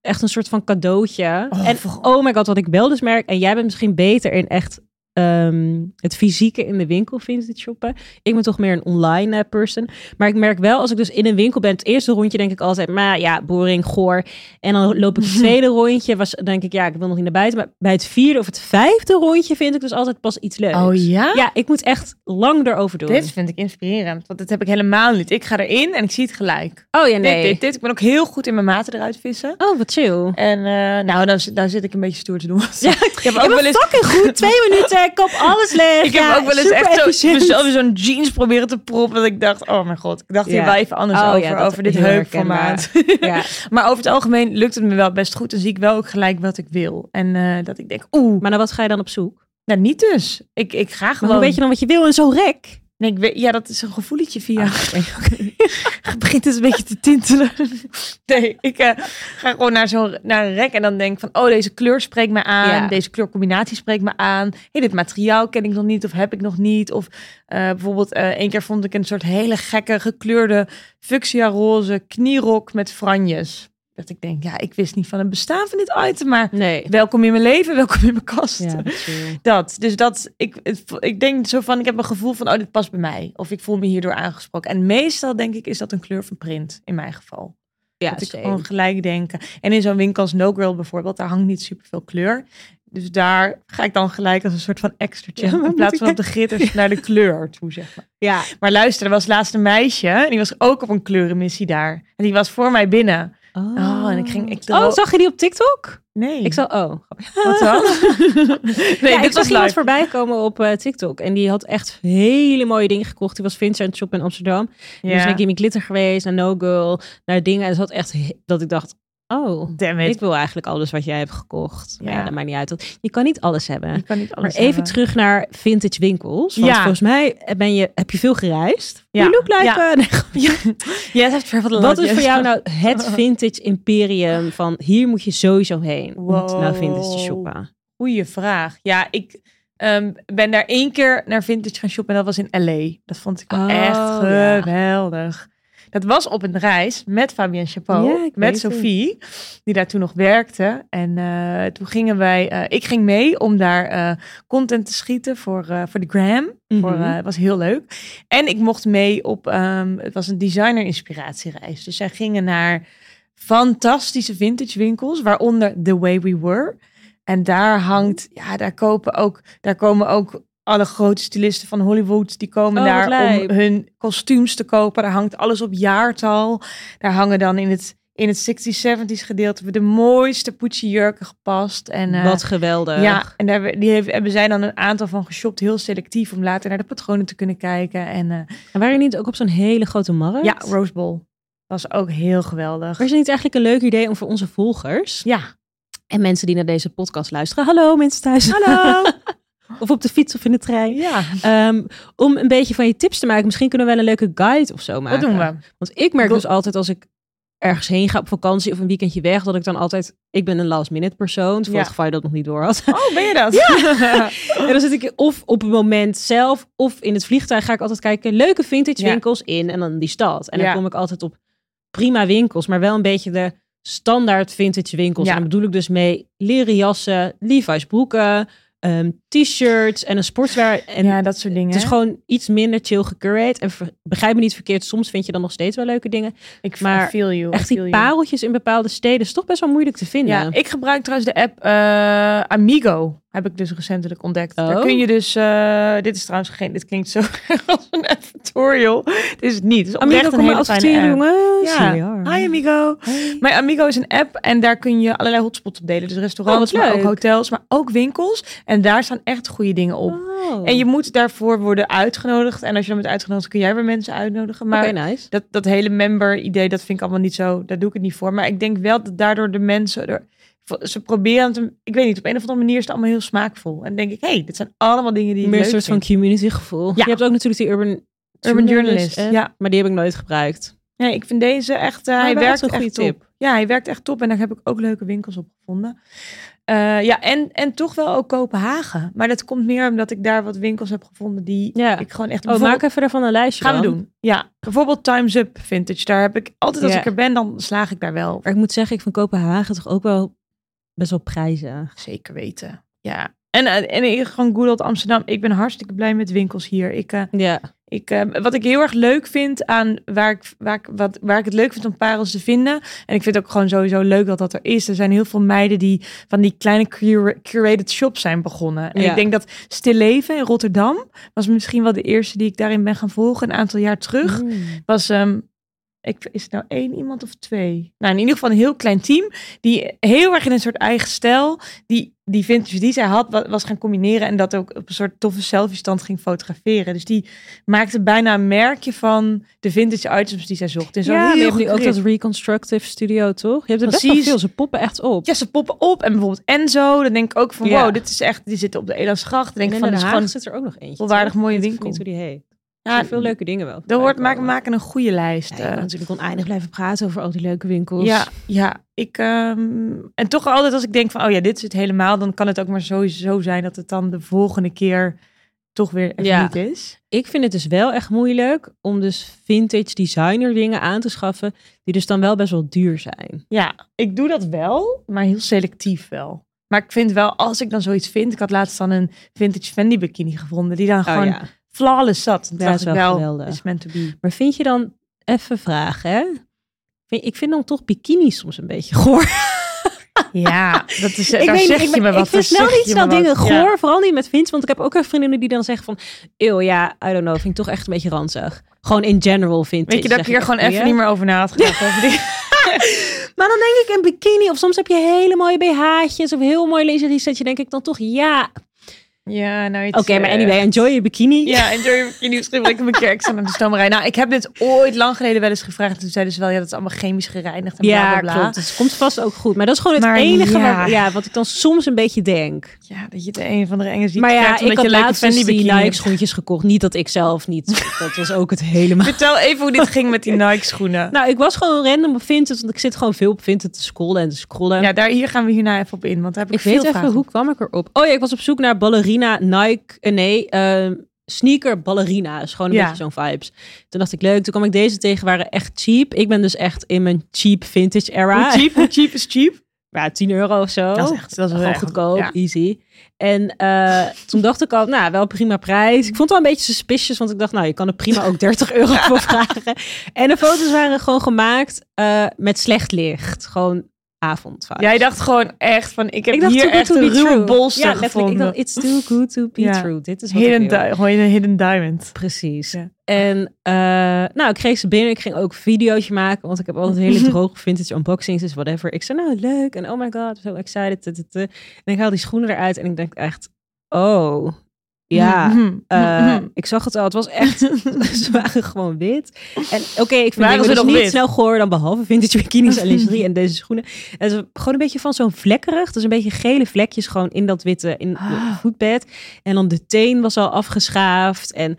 S1: echt een soort van cadeautje.
S2: Oh,
S1: en
S2: voor-
S1: oh my god, wat ik wel dus merk. En jij bent misschien beter in echt ehm, het fysieke in de winkel vintage shoppen. Ik ben toch meer een online eh, person. Maar ik merk wel, als ik dus in een winkel ben, het eerste rondje denk ik altijd, maar ja, boring, goor. En dan loop ik het tweede rondje, was, denk ik, ja, ik wil nog niet naar buiten. Maar bij het vierde of het vijfde rondje vind ik dus altijd pas iets leuks.
S2: Oh ja?
S1: Ja, ik moet echt lang erover doen.
S2: Dit vind ik inspirerend, want dat heb ik helemaal niet. Ik ga erin en ik zie het gelijk.
S1: Oh ja,
S2: Dit,
S1: nee.
S2: dit, dit. Ik ben ook heel goed in mijn maten eruit vissen.
S1: Oh, wat chill.
S2: En eh, nou, daar, zit- daar zit ik een beetje stoer te doen.
S1: Ja,
S2: ik heb
S1: Ik
S2: ook wel eens
S1: fucking goed. Twee minuten, ik kop alles leeg.
S2: Ik heb
S1: Ja,
S2: ook wel eens
S1: super
S2: echt zo,
S1: efficiënt.
S2: mezelf in zo'n jeans proberen te proppen. Dat ik dacht, oh mijn god. Ik dacht hier
S1: Ja.
S2: wel even anders
S1: Oh ja,
S2: over,
S1: dat
S2: over dit
S1: heel
S2: heupformaat.
S1: Ja.
S2: Maar over het algemeen lukt het me wel best goed. Dan zie ik wel ook gelijk wat ik wil. En eh, dat ik denk, oeh,
S1: Maar naar wat ga je dan op zoek?
S2: nou niet dus. Ik, ik ga
S1: Maar
S2: gewoon.
S1: hoe weet je dan wat je wil in zo'n rek?
S2: Nee, ik weet, ja, dat is een gevoeletje via.
S1: Ah.
S2: Het begint dus een beetje te tintelen. Nee, ik eh, ga gewoon naar zo'n naar een rek en dan denk van, oh, deze kleur spreekt me aan.
S1: Ja.
S2: Deze kleurcombinatie spreekt me aan. hey, dit materiaal ken ik nog niet of heb ik nog niet. Of eh, bijvoorbeeld, eh één keer vond ik een soort hele gekke gekleurde fuchsia roze knierok met franjes. Dat ik denk, ja, ik wist niet van het bestaan van dit item, maar
S1: Nee.
S2: welkom in mijn leven, welkom in mijn kast.
S1: Ja, chill.
S2: Dat, dus dat, ik, het vo- ik denk zo van, ik heb een gevoel van, oh, dit past bij mij. Of ik voel me hierdoor aangesproken. En meestal denk ik, is dat een kleur van print, in mijn geval.
S1: Ja,
S2: dat ik
S1: same.
S2: gewoon gelijk denk. En in zo'n winkel als No Girl bijvoorbeeld, daar hangt niet superveel kleur. Dus daar ga ik dan gelijk als een soort van extra
S1: Ja, maar
S2: check. in
S1: moet
S2: plaats
S1: ik
S2: van op de gitters naar de kleur toe, zeg maar.
S1: ja.
S2: Maar luister, er was laatst een meisje. En die was ook op een kleurenmissie daar. En die was voor mij binnen.
S1: Oh.
S2: en ik ging- ik
S1: oh,
S2: droom-
S1: zag je die op TikTok?
S2: Nee.
S1: Ik zag, oh.
S2: Wat dan? nee,
S1: ja,
S2: dit
S1: ik zag
S2: was
S1: iemand
S2: live.
S1: voorbij komen op eh, TikTok. En die had echt hele mooie dingen gekocht. Die was Vincent Shop in Amsterdam. Die was
S2: Ja.
S1: naar Gimme Glitter geweest, naar No Girl, naar dingen. En ze had echt he- dat ik dacht, oh,
S2: Damn it.
S1: ik wil eigenlijk alles wat jij hebt gekocht. Maar ja,
S2: Ja.
S1: dat maakt niet uit. want Je kan niet alles hebben.
S2: Je kan niet alles
S1: maar even
S2: hebben.
S1: terug naar vintage winkels. Want
S2: Ja.
S1: volgens mij ben je, heb je veel gereisd.
S2: Ja.
S1: You look like...
S2: Ja.
S1: eh, nee, grapje.
S2: Jij hebt traveled
S1: Wat is voor jou nou het vintage imperium van hier moet je sowieso heen om naar vintage te
S2: Wow.
S1: shoppen?
S2: Goeie vraag. Ja, ik ehm, ben daar één keer naar vintage gaan shoppen en dat was in L.A. Dat vond ik wel
S1: Oh,
S2: echt
S1: ja.
S2: geweldig. Dat was op een reis met Fabienne Chapeau,
S1: Ja, ik
S2: met
S1: weet het.
S2: Sophie, die daar toen nog werkte. En eh, toen gingen wij, eh, ik ging mee om daar eh, content te schieten voor, eh, voor de gram. Voor,
S1: Mhm.
S2: eh, het was heel leuk. En ik mocht mee op, ehm, het was een designer inspiratiereis. Dus zij gingen naar fantastische vintage winkels, waaronder The Way We Were. En daar hangt,
S1: Mhm.
S2: ja, daar kopen ook, daar komen ook alle grote stylisten van Hollywood. Die komen
S1: Oh, wat
S2: daar
S1: lijp.
S2: om hun kostuums te kopen. Daar hangt alles op jaartal. Daar hangen dan in het, in het 60s, 70s gedeelte de mooiste Pucci jurken gepast. En, eh,
S1: Wat geweldig.
S2: ja, en daar, hebben- die heeft, hebben zij dan een aantal van geshopt, heel selectief, om later naar de patronen te kunnen kijken. En eh,
S1: En waren jullie niet ook op zo'n hele grote markt?
S2: ja, Rose Bowl was ook heel geweldig.
S1: Was het niet eigenlijk een leuk idee om voor onze volgers
S2: Ja,
S1: en mensen die naar deze podcast luisteren, hallo mensen thuis,
S2: hallo!
S1: of op de fiets of in de trein,
S2: ja,
S1: ehm, om een beetje van je tips te maken. Misschien kunnen we wel een leuke guide of zo maken.
S2: dat doen we.
S1: Want ik merk
S2: Go-
S1: dus altijd als ik ergens heen ga op vakantie of een weekendje weg, dat ik dan altijd, ik ben een last minute persoon, voor
S2: Ja.
S1: het geval je dat nog niet door had.
S2: Oh, ben je dat? Ja!
S1: En dan zit ik of op het moment zelf of in het vliegtuig ga ik altijd kijken leuke vintage
S2: Ja.
S1: winkels in en dan die stad. En dan
S2: Ja.
S1: kom ik altijd op prima winkels, maar wel een beetje de standaard vintage winkels.
S2: Ja.
S1: En dan bedoel ik dus mee leren jassen, Levi's broeken, ehm, t-shirts en een sportswear. En
S2: ja, dat soort dingen.
S1: het is gewoon iets minder chill gecurate. En ver- begrijp me niet verkeerd, soms vind je dan nog steeds wel leuke dingen.
S2: ik
S1: maar
S2: maar feel you. I
S1: Echt die
S2: feel you.
S1: pareltjes in bepaalde steden is toch best wel moeilijk te vinden.
S2: Ja, ik gebruik trouwens de app eh, Amigo. Heb ik dus recentelijk ontdekt.
S1: Oh.
S2: Daar kun je dus. eh, dit is trouwens geen. Dit klinkt zo als een advertorial. Dit is het niet. Het is oprecht
S1: Amerika,
S2: een
S1: kom maar
S2: hele fijne
S1: adverteren,
S2: app.
S1: jongens.
S2: Ja.
S1: Ja.
S2: Hi Amigo. Maar Amigo is een app en daar kun je allerlei hotspots op delen. Dus restaurants,
S1: Oh, wat
S2: maar ook
S1: leuk.
S2: hotels, maar ook winkels. En daar staan echt goede dingen op.
S1: Oh.
S2: En je moet daarvoor worden uitgenodigd. En als je dan bent uitgenodigd, kun jij weer mensen uitnodigen. Maar
S1: Oké, nou. nice.
S2: dat, dat hele member-idee, dat vind ik allemaal niet zo. Daar doe ik het niet voor. Maar ik denk wel dat daardoor de mensen. Er, ze proberen het, een- ik weet niet, op een of andere manier is het allemaal heel smaakvol. En dan denk ik, hé, hey, dit zijn allemaal dingen die. ik
S1: meer een
S2: leuk
S1: soort van
S2: vind.
S1: community gevoel. Je hebt ook natuurlijk die urban,
S2: Urban journalist.
S1: app,
S2: Ja.
S1: maar die heb ik nooit gebruikt.
S2: Nee, ik vind deze echt. eh, hij
S1: wel echt
S2: werkt
S1: Oh, een goede
S2: echt top.
S1: tip.
S2: Ja, hij werkt echt top en daar heb ik ook leuke winkels op gevonden. Eh, ja, en, en toch wel ook Kopenhagen. Maar dat komt meer omdat ik daar wat winkels heb gevonden die
S1: Ja.
S2: ik gewoon echt.
S1: Oh, maak
S2: bijvoorbeeld-
S1: even daarvan een lijstje.
S2: Gaan we
S1: dan.
S2: doen. Ja, bijvoorbeeld Times Up Vintage. Daar heb ik altijd als
S1: Ja.
S2: ik er ben, dan slaag ik daar wel.
S1: Maar ik moet zeggen, ik vind Kopenhagen toch ook wel best wel prijzen.
S2: Zeker weten. Ja. En, eh, en ik- gewoon Good Old Amsterdam. Ik ben hartstikke blij met winkels hier. Ik, eh,
S1: Ja.
S2: Ik, eh, wat ik heel erg leuk vind aan waar ik, waar, ik, wat, waar ik het leuk vind om parels te vinden. En ik vind het ook gewoon sowieso leuk dat dat er is. Er zijn heel veel meiden die van die kleine cura- curated shops zijn begonnen. En
S1: Ja.
S2: ik denk dat Stilleven in Rotterdam was misschien wel de eerste die ik daarin ben gaan volgen. Een aantal jaar terug. Was, ehm, ik, is het nou één iemand of twee? Nou, in ieder geval een heel klein team. Die heel erg in een soort eigen stijl. Die, die vintage die zij had, wa- was gaan combineren. En dat ook op een soort toffe selfie stand ging fotograferen. Dus die maakte bijna een merkje van de vintage items die zij zocht. En zo
S1: Ja, maar je
S2: heel
S1: hebt nu ook dat
S2: gecreëerd.
S1: reconstructive studio, toch? Je hebt er best wel
S2: Precies.
S1: veel, ze poppen echt op.
S2: Ja, ze poppen op. En bijvoorbeeld Enzo. Dan denk ik ook van,
S1: Ja.
S2: wow, dit is echt... Die zitten op de Elandsgracht. Dan denk ik
S1: en
S2: van,
S1: in
S2: dit
S1: Den Haag
S2: is gewoon...
S1: zit er ook nog eentje.
S2: volwaardig
S1: toch?
S2: mooie
S1: Ik weet
S2: winkel.
S1: niet hoe die heet. Er
S2: Ja,
S1: zijn veel leuke dingen wel.
S2: Er wordt, maak,
S1: maken
S2: maken een goede lijst.
S1: Ja, je kan
S2: eh.
S1: natuurlijk oneindig blijven praten over al die leuke winkels.
S2: Ja, ja. Ik, ehm, en toch altijd als ik denk van, oh ja, dit is het helemaal, dan kan het ook maar sowieso zijn dat het dan de volgende keer toch weer echt
S1: Ja.
S2: niet is.
S1: ik vind het dus wel echt moeilijk om dus vintage designer dingen aan te schaffen die dus dan wel best wel duur zijn.
S2: Ja, ik doe dat wel, maar heel selectief wel. Maar ik vind wel, als ik dan zoiets vind, ik had laatst dan een vintage Fendi bikini gevonden, die dan gewoon flawless zat. En toen
S1: Oh, Dat is
S2: dacht ik
S1: wel
S2: wel,
S1: geweldig.
S2: is meant to be.
S1: Maar vind je dan even vragen, hè? Vind- Ik vind dan toch bikinis soms een beetje goor.
S2: Ja, dat is, daar
S1: weet
S2: zeg
S1: niet,
S2: je me wat.
S1: ik vind
S2: daar
S1: snel
S2: zeg
S1: niet
S2: je
S1: snel
S2: me wat.
S1: dingen goor,
S2: Ja.
S1: vooral niet met Vince. Want ik heb ook echt vriendinnen die dan zeggen van... Eeuw, ja, I don't know, vind ik toch echt een beetje ranzig. Gewoon in general vind
S2: Weet je dat ik hier gewoon even niet meer over na had gedacht. over die-
S1: Maar dan denk ik een bikini. Of soms heb je hele mooie BH'tjes of heel mooi lingerie setje. Denk ik dan toch, ja.
S2: Ja, nou iets,
S1: Oké, maar
S2: eh,
S1: anyway, enjoy je bikini.
S2: Ja, enjoy your bikini. Misschien wil ik hem een keer extra naar de stomerij. Nou, ik heb dit ooit lang geleden wel eens gevraagd. Toen zeiden ze wel, ja, dat is allemaal chemisch gereinigd en bla,
S1: Ja,
S2: bla, bla.
S1: klopt. Dus het komt vast ook goed. Maar dat is gewoon het
S2: Maar
S1: enige
S2: ja.
S1: Waar, ja, wat ik dan soms een beetje denk.
S2: Ja, dat je de een van de enge ziet
S1: maar ja,
S2: krijgt,
S1: ik
S2: omdat
S1: had
S2: je leuke
S1: laatst dus
S2: Fendi
S1: die
S2: bikini
S1: Nike
S2: hebt.
S1: schoentjes gekocht. Niet dat ik zelf niet. Dat was ook het helemaal.
S2: Vertel even hoe dit ging met die Nike schoenen.
S1: Nou, ik was gewoon random op Vinted. Want ik zit gewoon veel op Vinted te scrollen en te scrollen.
S2: ja, daar, hier gaan we hierna even op in, want daar heb ik,
S1: Nou. ik weet even,
S2: veel vragen
S1: hoe kwam ik erop? Oh ja, ik was op zoek naar ballerina Nike. eh, nee, ehm, sneaker ballerina. Is gewoon een
S2: Ja.
S1: beetje zo'n vibes. Toen dacht ik, leuk. Toen kwam ik deze tegen, waren echt cheap. Ik ben dus echt in mijn cheap vintage
S2: op.
S1: era.
S2: Hoe cheap, hoe cheap is cheap? Oh,
S1: Ja, 10 euro of zo.
S2: Dat is echt, dat is wel
S1: Gewoon
S2: echt-
S1: goedkoop,
S2: ja.
S1: easy. En eh, toen dacht ik al, nou, wel prima prijs. Ik vond het wel een beetje suspicious, want ik dacht, nou, je kan er prima ook 30 euro voor vragen. En de foto's waren gewoon gemaakt eh, met slecht licht. Gewoon avondvaart.
S2: Jij dacht gewoon echt van, ik heb
S1: ik dacht,
S2: hier
S1: too good
S2: echt
S1: to
S2: een
S1: be
S2: ruwe
S1: true.
S2: bolster
S1: ja, letterlijk. Ik
S2: gevonden.
S1: dacht, it's too good to be
S2: Ja.
S1: true. Dit is wat
S2: Hidden,
S1: ik wil.
S2: di- gewoon een hidden diamond.
S1: Precies.
S2: Ja.
S1: En eh, nou, ik kreeg ze binnen. Ik ging ook een videootje maken, want ik heb altijd hele droge vintage unboxings, dus whatever. Ik zei, nou leuk, en oh my god, so excited. tut, tut, tut. En ik haal die schoenen eruit en ik denk echt, oh, ja.
S2: Mhm,
S1: eh,
S2: mhm.
S1: ik zag het al, het was echt, ze waren gewoon wit. En oké, ik vind
S2: Waren
S1: het
S2: ze nog
S1: dus niet
S2: wit?
S1: snel goor dan behalve vintage bikinis en lingerie en deze schoenen. En ze gewoon een beetje van zo'n vlekkerig, dus een beetje gele vlekjes gewoon in dat witte, in
S2: Ah.
S1: het voetbed. En dan de teen was al afgeschaafd en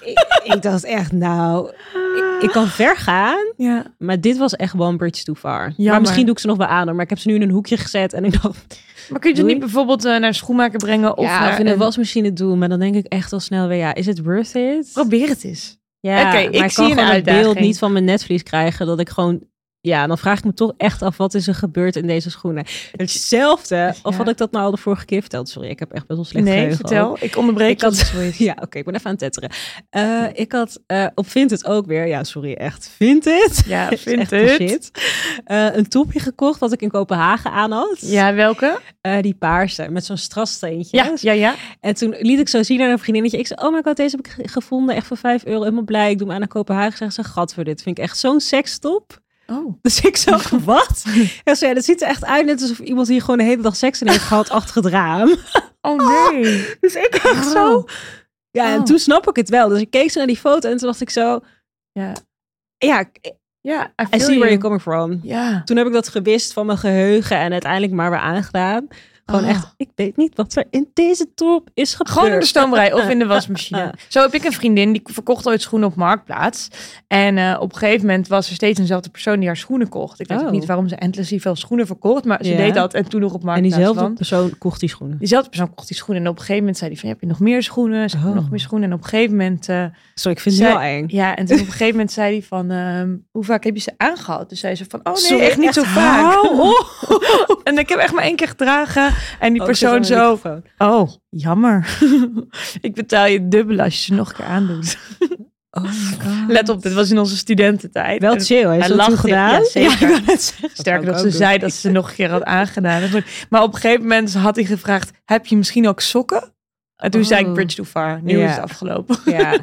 S1: ik, ik dacht echt, nou, ik, ik kan ver gaan,
S2: Ja.
S1: maar dit was echt one bridge too far. Maar
S2: Jammer.
S1: misschien doe ik ze nog wel aan, hoor, maar ik heb ze nu in een hoekje gezet en ik dacht,
S2: Maar kun je het
S1: Doei.
S2: niet bijvoorbeeld eh, naar een schoenmaker brengen? Of,
S1: of, ja,
S2: naar
S1: of in een
S2: een-
S1: wasmachine doen, maar dan denk ik echt al snel weer, ja, is het worth it?
S2: Probeer het eens.
S1: Ja,
S2: Oké, ik
S1: maar ik
S2: zie
S1: kan
S2: een
S1: gewoon het beeld
S2: uitdaging.
S1: niet van mijn netvlies krijgen dat ik gewoon ja, dan vraag ik me toch echt af wat is er gebeurd in deze schoenen. Hetzelfde, of
S2: Ja.
S1: had ik dat nou al de vorige keer verteld? Sorry, ik heb echt best wel slecht
S2: nee,
S1: geheugen ook.
S2: vertel. Ik onderbreek
S1: Ik had-
S2: je. Sorry.
S1: Ja, oké, ik ben even aan het tetteren. Eh, ik had eh op Vinted ook weer, ja, sorry, echt Vinted.
S2: Ja,
S1: Is
S2: vind
S1: echt de
S2: het.
S1: shit. Eh, een topje gekocht wat ik in Kopenhagen aan had.
S2: Ja, welke?
S1: Eh, die paarse, met zo'n strassteentje.
S2: Ja, ja, ja.
S1: En toen liet ik zo zien aan een vriendinnetje. Ik zei, oh my god, deze heb ik ge- gevonden. Echt voor 5 euro. Helemaal blij. Ik doe hem aan naar Kopenhagen. Zeg ze, gat voor dit. Vind ik echt zo'n sekstop.
S2: Oh.
S1: Dus ik zo, wat? En ze, ja, dat ziet er echt uit net alsof iemand hier gewoon de hele dag seks in heeft gehad achter het raam.
S2: Oh nee.
S1: Dus ik echt zo. Ja, en
S2: Oh.
S1: toen snap ik het wel. Dus ik keek zo naar die foto en toen dacht ik zo,
S2: Ja.
S1: ja,
S2: Ja, I
S1: I
S2: feel
S1: see where
S2: you.
S1: you're coming from.
S2: Ja.
S1: Toen heb ik dat gewist van mijn geheugen en uiteindelijk maar weer aangedaan. Gewoon
S2: Oh.
S1: echt, ik weet niet wat er in deze top is gebeurd.
S2: Gewoon in de stoomrij of in de wasmachine. Zo heb ik een vriendin die verkocht ooit schoenen op Marktplaats. En eh, op een gegeven moment was er steeds eenzelfde persoon die haar schoenen kocht. Ik weet
S1: Oh.
S2: ook niet waarom ze endless veel schoenen verkocht, maar ze
S1: Ja.
S2: deed dat en toen nog op
S1: En
S2: Marktplaats.
S1: diezelfde
S2: want-
S1: persoon kocht die schoenen.
S2: diezelfde persoon kocht die schoenen. En op een gegeven moment zei hij van, ja, heb je nog meer schoenen? Ze hebben
S1: Oh.
S2: nog meer schoenen. En op een gegeven moment... eh,
S1: Sorry, ik vind
S2: Zij-
S1: het heel eng.
S2: ja, en toen op een gegeven moment zei hij van, ehm, hoe vaak heb je ze aangehad? Dus zei ze van, oh nee,
S1: Sorry,
S2: echt niet zo
S1: echt?
S2: vaak.
S1: Hou
S2: en ik heb echt maar één keer gedragen. En die
S1: Oh, ik zit aan
S2: persoon
S1: de
S2: zo,
S1: microfoon.
S2: oh, jammer. ik betaal je dubbel als je ze nog een keer aandoet. Let op, dit was in onze studententijd.
S1: Oh Wel
S2: En-
S1: chill, heeft
S2: Hij
S1: ze dat toen
S2: lacht, ja,
S1: gedaan?
S2: zeker.
S1: ik wou net zeggen.
S2: Sterker
S1: zou ik
S2: nog, ze
S1: ook
S2: zei dat ze ze nog een keer had aangedaan. Dat moet- Maar op een gegeven moment had hij gevraagd, heb je misschien ook sokken? En toen zei ik,
S1: Oh.
S2: bridge too far. Nu
S1: Ja.
S2: is het afgelopen.
S1: doen. Ja,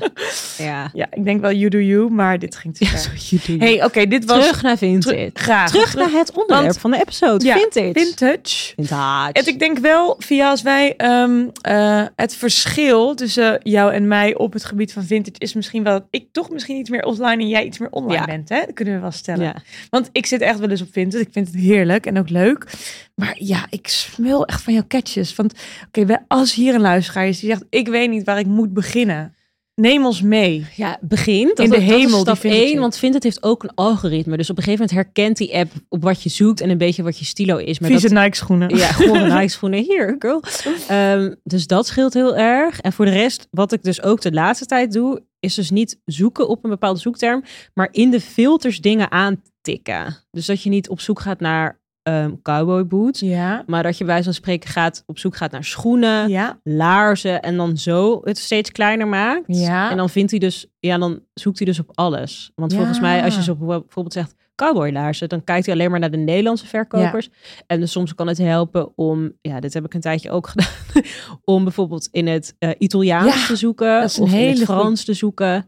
S1: ja.
S2: Ja, ik denk wel you do you, maar dit ging te
S1: ja
S2: ver.
S1: zo je doet.
S2: hey, oké, dit was...
S1: terug naar
S2: Teru-
S1: Vintage.
S2: graag.
S1: Terug naar het onderwerp
S2: Want-
S1: van de episode.
S2: Ja,
S1: vintage.
S2: vintage.
S1: vintage.
S2: En ik denk wel, via als wij ehm, eh, het verschil tussen jou en mij op het gebied van vintage is misschien wel dat ik toch misschien iets meer offline en jij iets meer online
S1: Ja.
S2: bent. Hè? Dat kunnen we wel stellen.
S1: ja.
S2: Want ik zit echt wel eens op vintage. Ik vind het heerlijk en ook leuk. Maar ja, ik smul echt van jouw catches. Want oké, wij- als hier een luisteraar is die zegt, ik weet niet waar ik moet beginnen. Neem ons mee.
S1: ja, begin. Dat,
S2: In de
S1: dat
S2: hemel, die
S1: is stap
S2: vintage.
S1: 1, want Vinted heeft ook een algoritme. Dus op een gegeven moment herkent die app op wat je zoekt en een beetje wat je stilo is. Maar dat
S2: Vieze Nike schoenen.
S1: Ja, gewoon nice schoenen hier, girl. Ehm, dus dat scheelt heel erg. En voor de rest, wat ik dus ook de laatste tijd doe, is dus niet zoeken op een bepaalde zoekterm, maar in de filters dingen aantikken. Dus dat je niet op zoek gaat naar ehm, cowboy boots,
S2: Ja.
S1: maar dat je bij wijze van spreken gaat, op zoek gaat naar schoenen,
S2: Ja.
S1: laarzen en dan zo het steeds kleiner maakt.
S2: Ja.
S1: En dan vindt hij dus, ja, dan zoekt hij dus op alles. Want
S2: Ja.
S1: volgens mij, als je zo bijvoorbeeld zegt cowboylaarzen. Dan kijkt hij alleen maar naar de Nederlandse verkopers. En dus soms kan het helpen om, ja, dit heb ik een tijdje ook gedaan, om bijvoorbeeld in het eh, Italiaans
S2: Ja,
S1: te zoeken
S2: dat is een
S1: of in
S2: hele
S1: het
S2: goeie.
S1: Frans te zoeken.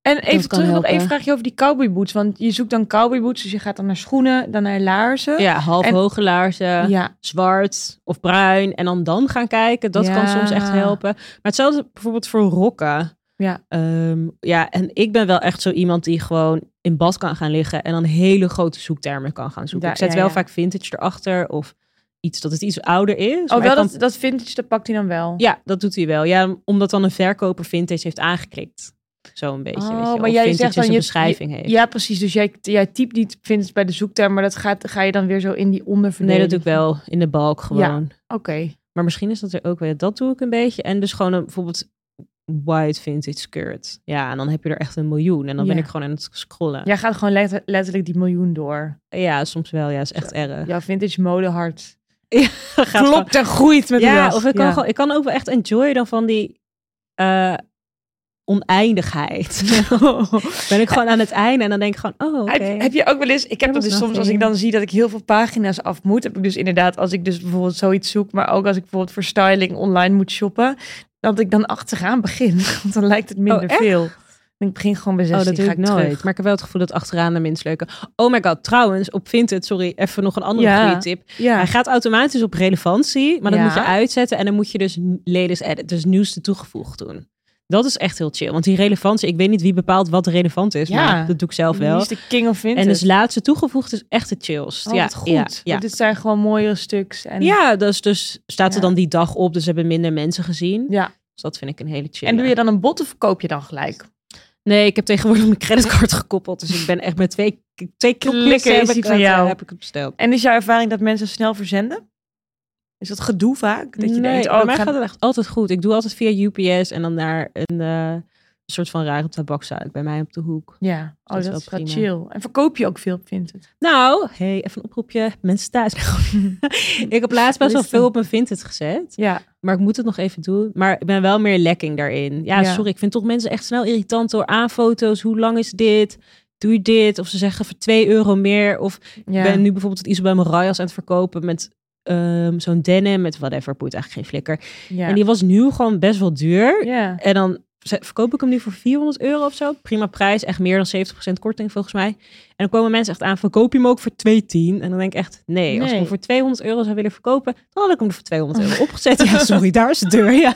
S2: En even
S3: kan
S2: terug nog
S3: helpen.
S2: één vraagje over die cowboyboots. Want je zoekt dan cowboyboots, dus je gaat dan naar schoenen, dan naar laarzen.
S1: Ja, half
S2: En-
S1: hoge laarzen.
S2: ja.
S1: zwart of bruin en dan dan gaan kijken. Dat
S2: Ja.
S1: kan soms echt helpen. Maar hetzelfde bijvoorbeeld voor rokken.
S2: Ja.
S1: Ehm, ja, en ik ben wel echt zo iemand die gewoon in bad kan gaan liggen en dan hele grote zoektermen kan gaan zoeken.
S2: Ja,
S1: ik zet
S2: ja,
S1: wel
S2: ja.
S1: vaak vintage erachter of iets dat het iets ouder is. maar
S2: Oh, wel
S1: ik kan-
S2: dat, dat vintage, dat pakt hij dan wel.
S1: Ja, dat doet hij wel. Ja, omdat dan een verkoper vintage heeft aangeklikt. Zo een beetje.
S2: Oh,
S1: weet je, wel.
S2: maar
S1: Of
S2: jij
S1: vintage
S2: zegt dan
S1: een
S2: je-
S1: beschrijving heeft.
S2: Ja, precies. Dus jij, jij typt niet vintage bij de zoekterm, maar dat gaat, ga je dan weer zo in die
S1: nee,
S2: onderverdeling.
S1: dat doe ik wel in de balk gewoon.
S2: Oké.
S1: Maar misschien is dat er ook weer. Dat doe ik een beetje. En dus gewoon een, bijvoorbeeld white vintage skirt. Ja, en dan heb je er echt een miljoen. En dan ben
S2: Ja.
S1: ik gewoon aan het scrollen. Ja,
S2: Jij gaat gewoon letter- letterlijk die miljoen door.
S1: soms wel. Ja, is echt erg.
S2: Jouw vintage modehart
S1: Gaat gewoon-
S2: klopt en groeit met de
S1: Ja,
S2: jas.
S1: of ik kan,
S2: Ja.
S1: Gewoon, ik kan ook wel echt enjoyen dan van die eh, oneindigheid. ben ik gewoon aan het einde en dan denk ik gewoon, oh, oké.
S2: Heb, heb je ook wel eens, ik heb
S1: was
S2: dat dus soms als ik
S1: nothing.
S2: dan zie dat ik heel veel pagina's af moet, heb ik dus inderdaad als ik dus bijvoorbeeld zoiets zoek, maar ook als ik bijvoorbeeld voor styling online moet shoppen, dat ik dan achteraan begin, want dan lijkt het minder
S1: Oh, echt?
S2: veel. En ik begin gewoon bij 16,
S1: Oh, dat doe
S2: ga
S1: ik nooit.
S2: terug.
S1: Maar ik heb wel het gevoel dat achteraan de minst leuke. Oh my god, trouwens, op Vinted, sorry, even nog een andere
S2: Ja.
S1: goede tip.
S2: Ja.
S1: Hij gaat automatisch op relevantie, maar dat
S2: Ja.
S1: moet je uitzetten. En dan moet je dus ladies edit, dus nieuwste toegevoegd doen. Dat is echt heel chill. Want die relevantie, ik weet niet wie bepaalt wat relevant is,
S2: Ja.
S1: maar dat doe ik zelf
S2: Wie
S1: wel.
S2: is de king of vintage.
S1: En dus laatste toegevoegd is echt het chillst.
S2: Oh,
S1: ja,
S2: wat goed.
S1: Ja, ja.
S2: Want dit zijn gewoon mooiere stuks. En,
S1: ja dus, dus staat er
S2: Ja.
S1: dan die dag op, dus hebben minder mensen gezien.
S2: Ja.
S1: Dus dat vind ik een hele chill.
S2: en doe je dan een bot of koop je dan gelijk?
S1: Nee, ik heb tegenwoordig mijn creditcard gekoppeld, dus ik ben echt met twee, twee
S2: Klikken
S1: klikken
S2: is
S1: heb
S2: die
S1: ik,
S2: van
S1: het, eh,
S2: jou.
S1: heb ik het besteld.
S2: En is jouw ervaring dat mensen snel verzenden? Is dat gedoe vaak? Dat
S1: nee,
S2: je denkt,
S1: bij
S2: oh, ik
S1: mij
S2: ga-
S1: gaat het echt altijd goed. Ik doe altijd via UPS en dan naar een eh, soort van rare tabakszaak bij mij op de hoek.
S2: Ja, oh,
S1: Dat is
S2: dat
S1: wel
S2: is wel
S1: prima.
S2: chill. En verkoop je ook veel op Vinted?
S1: Nou, hey, even een oproepje. Mensen thuis. ik heb laatst best wel
S2: Listen.
S1: veel op mijn Vinted gezet.
S2: Ja.
S1: Maar ik moet het nog even doen. Maar ik ben wel meer lekking daarin. Ja,
S2: Ja.
S1: sorry. Ik vind toch mensen echt snel irritant door aanfoto's. Hoe lang is dit? Doe je dit? Of ze zeggen voor 2 euro meer. Of
S2: ja.
S1: Ik ben nu bijvoorbeeld het Isabel Marias aan het verkopen met ehm, zo'n denim. Met whatever. Poeit eigenlijk geen flikker.
S2: ja.
S1: En die was nu gewoon best wel duur.
S2: ja.
S1: En dan ze- verkoop ik hem nu voor 400 euro of zo. Prima prijs, echt meer dan 70% korting volgens mij. En dan komen mensen echt aan, verkoop je hem ook voor 210? En dan denk ik echt, nee, als ik
S2: Nee.
S1: hem voor 200 euro zou willen verkopen, dan had ik hem er voor 200 euro opgezet. Ja, sorry, daar is de deur, ja.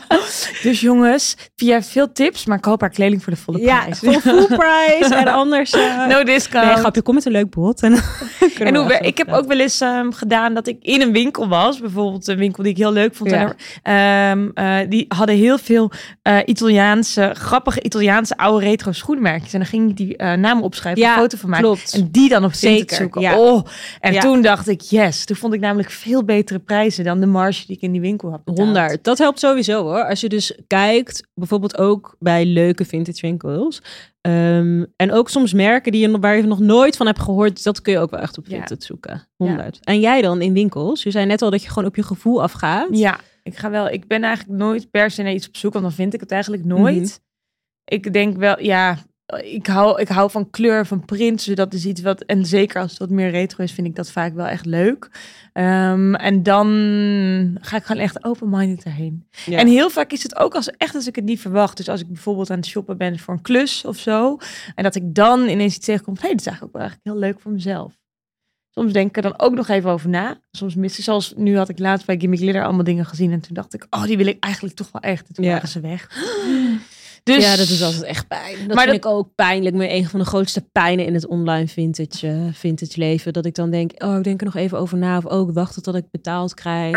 S2: Dus jongens, Pia heeft veel tips, maar koop haar kleding voor de volle
S1: Ja,
S2: prijs.
S1: voor full price en anders... eh,
S2: No discount.
S1: Nee, grapje, kom met een leuk bod. En,
S2: en hoe, wer- ik heb ook wel eens ehm, gedaan dat ik in een winkel was. Bijvoorbeeld een winkel die ik heel leuk vond.
S1: Ja.
S2: En er- ehm, eh, die hadden heel veel eh, Italiaanse, grappige Italiaanse oude retro schoenmerkjes. En dan ging ik die eh, namen opschrijven,
S1: Ja,
S2: een foto van maken.
S1: Klopt.
S2: En die dan op Vinted
S1: Zeker,
S2: zoeken.
S1: ja.
S2: Oh, en
S1: Ja.
S2: toen dacht ik, yes. Toen vond ik namelijk veel betere prijzen dan de marge die ik in die winkel had betaald.
S1: 100. Dat helpt sowieso hoor. Als je dus kijkt, bijvoorbeeld ook bij leuke vintage winkels. Ehm, en ook soms merken die je, waar je nog nooit van hebt gehoord. Dat kun je ook wel echt op
S2: Ja.
S1: Vinted zoeken. 100. En jij dan in winkels? Je zei net al dat je gewoon op je gevoel afgaat.
S2: Ja, ik ga wel. Ik ben eigenlijk nooit per se naar iets op zoek, want dan vind ik het eigenlijk nooit.
S1: Mhm.
S2: Ik denk wel, ja, ik hou, ik hou van kleur, van print. Dus dat is iets wat, en zeker als het wat meer retro is, vind ik dat vaak wel echt leuk. Ehm, en dan ga ik gewoon echt open-minded erheen.
S1: Ja.
S2: En heel vaak is het ook als echt als ik het niet verwacht. Dus als ik bijvoorbeeld aan het shoppen ben voor een klus of zo. En dat ik dan ineens iets tegenkom. Hé, hey, dat is eigenlijk ook wel eigenlijk heel leuk voor mezelf. Soms denk ik er dan ook nog even over na. Soms mis ik, zoals nu had ik laatst bij Gimme Glitter allemaal dingen gezien. En toen dacht ik, oh, die wil ik eigenlijk toch wel echt. En toen
S1: Ja.
S2: waren ze weg. Dus,
S1: Ja, dat is altijd echt pijn. Dat
S2: Maar
S1: vind ik ook pijnlijk. Maar een van de grootste pijnen in het online vintage, eh, vintage leven. Dat ik dan denk, oh, ik denk er nog even over na. Of ook wachten tot ik betaald krijg.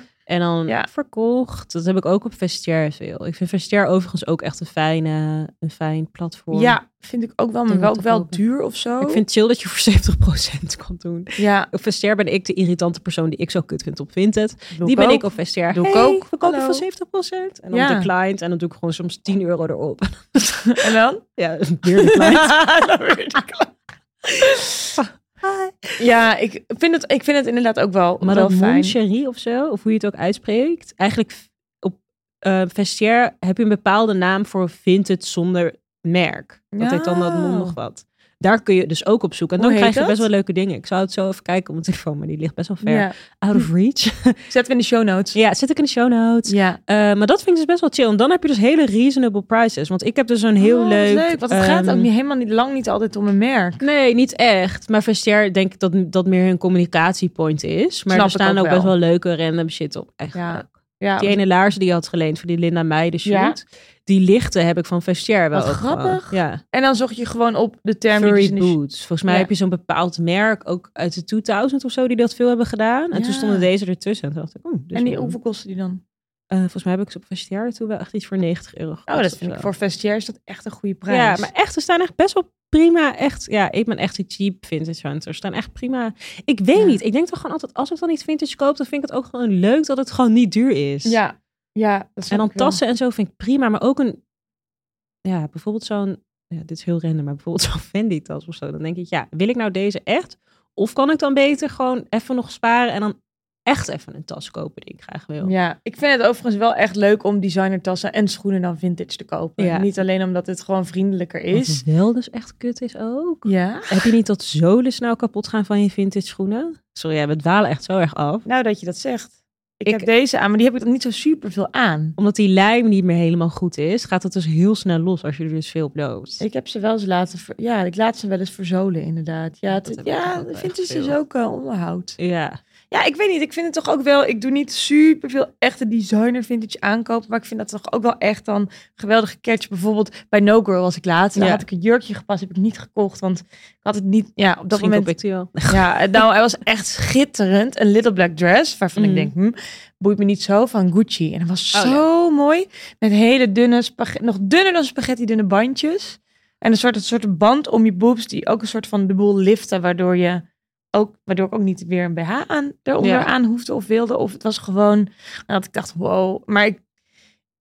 S1: Of- En dan
S2: Ja.
S1: verkocht. Dat heb ik ook op Vestiaire veel. Ik vind Vestiaire overigens ook echt een, fijne, een fijn platform.
S2: Ja, vind ik ook wel, maar
S1: Dingen
S2: wel,
S1: te
S2: wel
S1: kopen.
S2: duur of zo.
S1: Ik vind het chill dat je voor 70% kan doen.
S2: ja,
S1: Op Vestiaire ben ik de irritante persoon die ik zo kut vind op Vinted.
S2: doe
S1: die ben
S2: ook.
S1: ik op Vestiaire.
S2: Doe ik
S1: Hey,
S2: ook.
S1: We kopen
S2: Hallo.
S1: voor 70%. En dan
S2: Ja.
S1: declined. En dan doe ik gewoon soms 10 euro erop.
S2: En dan?
S1: ja, weer declined.
S2: ja, ik vind, het, ik vind het inderdaad ook wel,
S1: maar
S2: wel
S1: dat
S2: fijn.
S1: Moncherie of zo, of hoe je het ook uitspreekt. Eigenlijk op eh Vestiaire heb je een bepaalde naam voor Vinted zonder merk. Dat heet dan dat
S2: Ja.
S1: mon nog wat. Daar kun je dus ook op zoeken. En
S2: Hoe
S1: dan
S2: heet
S1: krijg je
S2: dat?
S1: best wel leuke dingen. Ik zou het zo even kijken op mijn telefoon, maar die ligt best wel ver.
S2: Ja.
S1: Out of reach.
S2: Zetten we in de show notes.
S1: ja, zet ik in de show notes.
S2: Ja.
S1: Eh, maar dat vind ik dus best wel chill. En dan heb je dus hele reasonable prices. Want ik heb dus zo'n heel
S2: Oh, wat
S1: leuk...
S2: Want het gaat ook
S1: ehm,
S2: niet, helemaal niet, lang niet altijd om een merk.
S1: Nee, niet echt. Maar Vestiaire denk ik dat dat meer hun communicatiepoint is. Maar
S2: Snap
S1: er
S2: ik
S1: staan
S2: ook
S1: ook,
S2: wel.
S1: best wel leuke random shit op. Echt
S2: Ja,
S1: leuk.
S2: Ja,
S1: Die ene laarzen die je had geleend voor die Linda Meijden shoot. Die lichte heb ik van Vestiaire wel
S2: Wat
S1: ook gewoon.
S2: grappig.
S1: Ja,
S2: En dan zocht je gewoon op de term die dus
S1: furry
S2: in de-
S1: boots. Volgens mij
S2: Ja.
S1: heb je zo'n bepaald merk, ook uit de 2000 of zo, die dat veel hebben gedaan. En
S2: Ja.
S1: toen stonden deze ertussen. En toen dacht ik, oeh, dus
S2: En die,
S1: wel-
S2: hoeveel kosten die dan?
S1: Eh, volgens mij heb ik ze op Vestiaire toen wel echt iets voor 90 euro
S2: Oh,
S1: gekost
S2: dat
S1: of
S2: vind ik
S1: zo.
S2: voor vestiaire is dat echt een goede prijs.
S1: Ja, maar echt, er staan echt best wel prima. Echt, ja, ik ben echt een cheap vintage hunter. Er staan echt prima. Ik weet
S2: Ja.
S1: niet. Ik denk toch gewoon altijd, als ik dan iets vintage koop, dan vind ik het ook gewoon leuk dat het gewoon niet duur is.
S2: ja, ja dat
S1: En
S2: snap
S1: dan
S2: ik wel.
S1: tassen en zo vind ik prima. Maar ook een, ja, bijvoorbeeld zo'n, ja, dit is heel random, maar bijvoorbeeld zo'n Fendi tas of zo. Dan denk ik, ja, wil ik nou deze echt? Of kan ik dan beter gewoon even nog sparen en dan echt even een tas kopen die ik graag wil?
S2: Ja, ik vind het overigens wel echt leuk om designertassen en schoenen dan vintage te kopen.
S1: Ja.
S2: Niet alleen omdat het gewoon vriendelijker
S1: Wat
S2: is.
S1: wel dus echt kut is ook.
S2: Ja.
S1: Heb je niet dat zolen snel kapot gaan van je vintage schoenen? Sorry, ja, we dwalen echt zo erg af.
S2: Nou, dat je dat zegt. Ik,
S1: Ik-
S2: heb deze aan, maar die heb ik dan niet zo super veel aan.
S1: Omdat die lijm niet meer helemaal goed is, gaat het dus heel snel los als je er dus veel op loopt.
S2: Ik heb ze wel eens laten, ver- ja, ik laat ze wel eens verzolen inderdaad. Ja,
S1: Dat
S2: het,
S1: heb ik
S2: ja,
S1: ook wel echt
S2: vintage is
S1: veel.
S2: ook eh, onderhoud.
S1: Ja,
S2: Ja, ik weet niet. Ik vind het toch ook wel. Ik doe niet super veel echte designer vintage aankopen. Maar ik vind dat toch ook wel echt dan geweldige catch. Bijvoorbeeld bij No Girl was ik laatst. Daar
S1: Ja.
S2: had ik een jurkje gepast. Heb ik niet gekocht. Want ik had het niet. Ja, op dat moment.
S1: ik die wel.
S2: Ja, nou, hij was echt schitterend. Een little black dress, waarvan ik
S1: Mm.
S2: denk, hm, boeit me niet zo, van Gucci. En hij was
S1: Oh, ja.
S2: zo mooi, met hele dunne, spag- nog dunner dan spaghetti, dunne bandjes. En een soort, een soort band om je boobs, die ook een soort van de boel liften, waardoor, je ook, waardoor ik ook niet weer een BH aan, eronder
S1: Ja.
S2: aan hoefde of wilde. Of het was gewoon nou, dat ik dacht, wow. Maar ik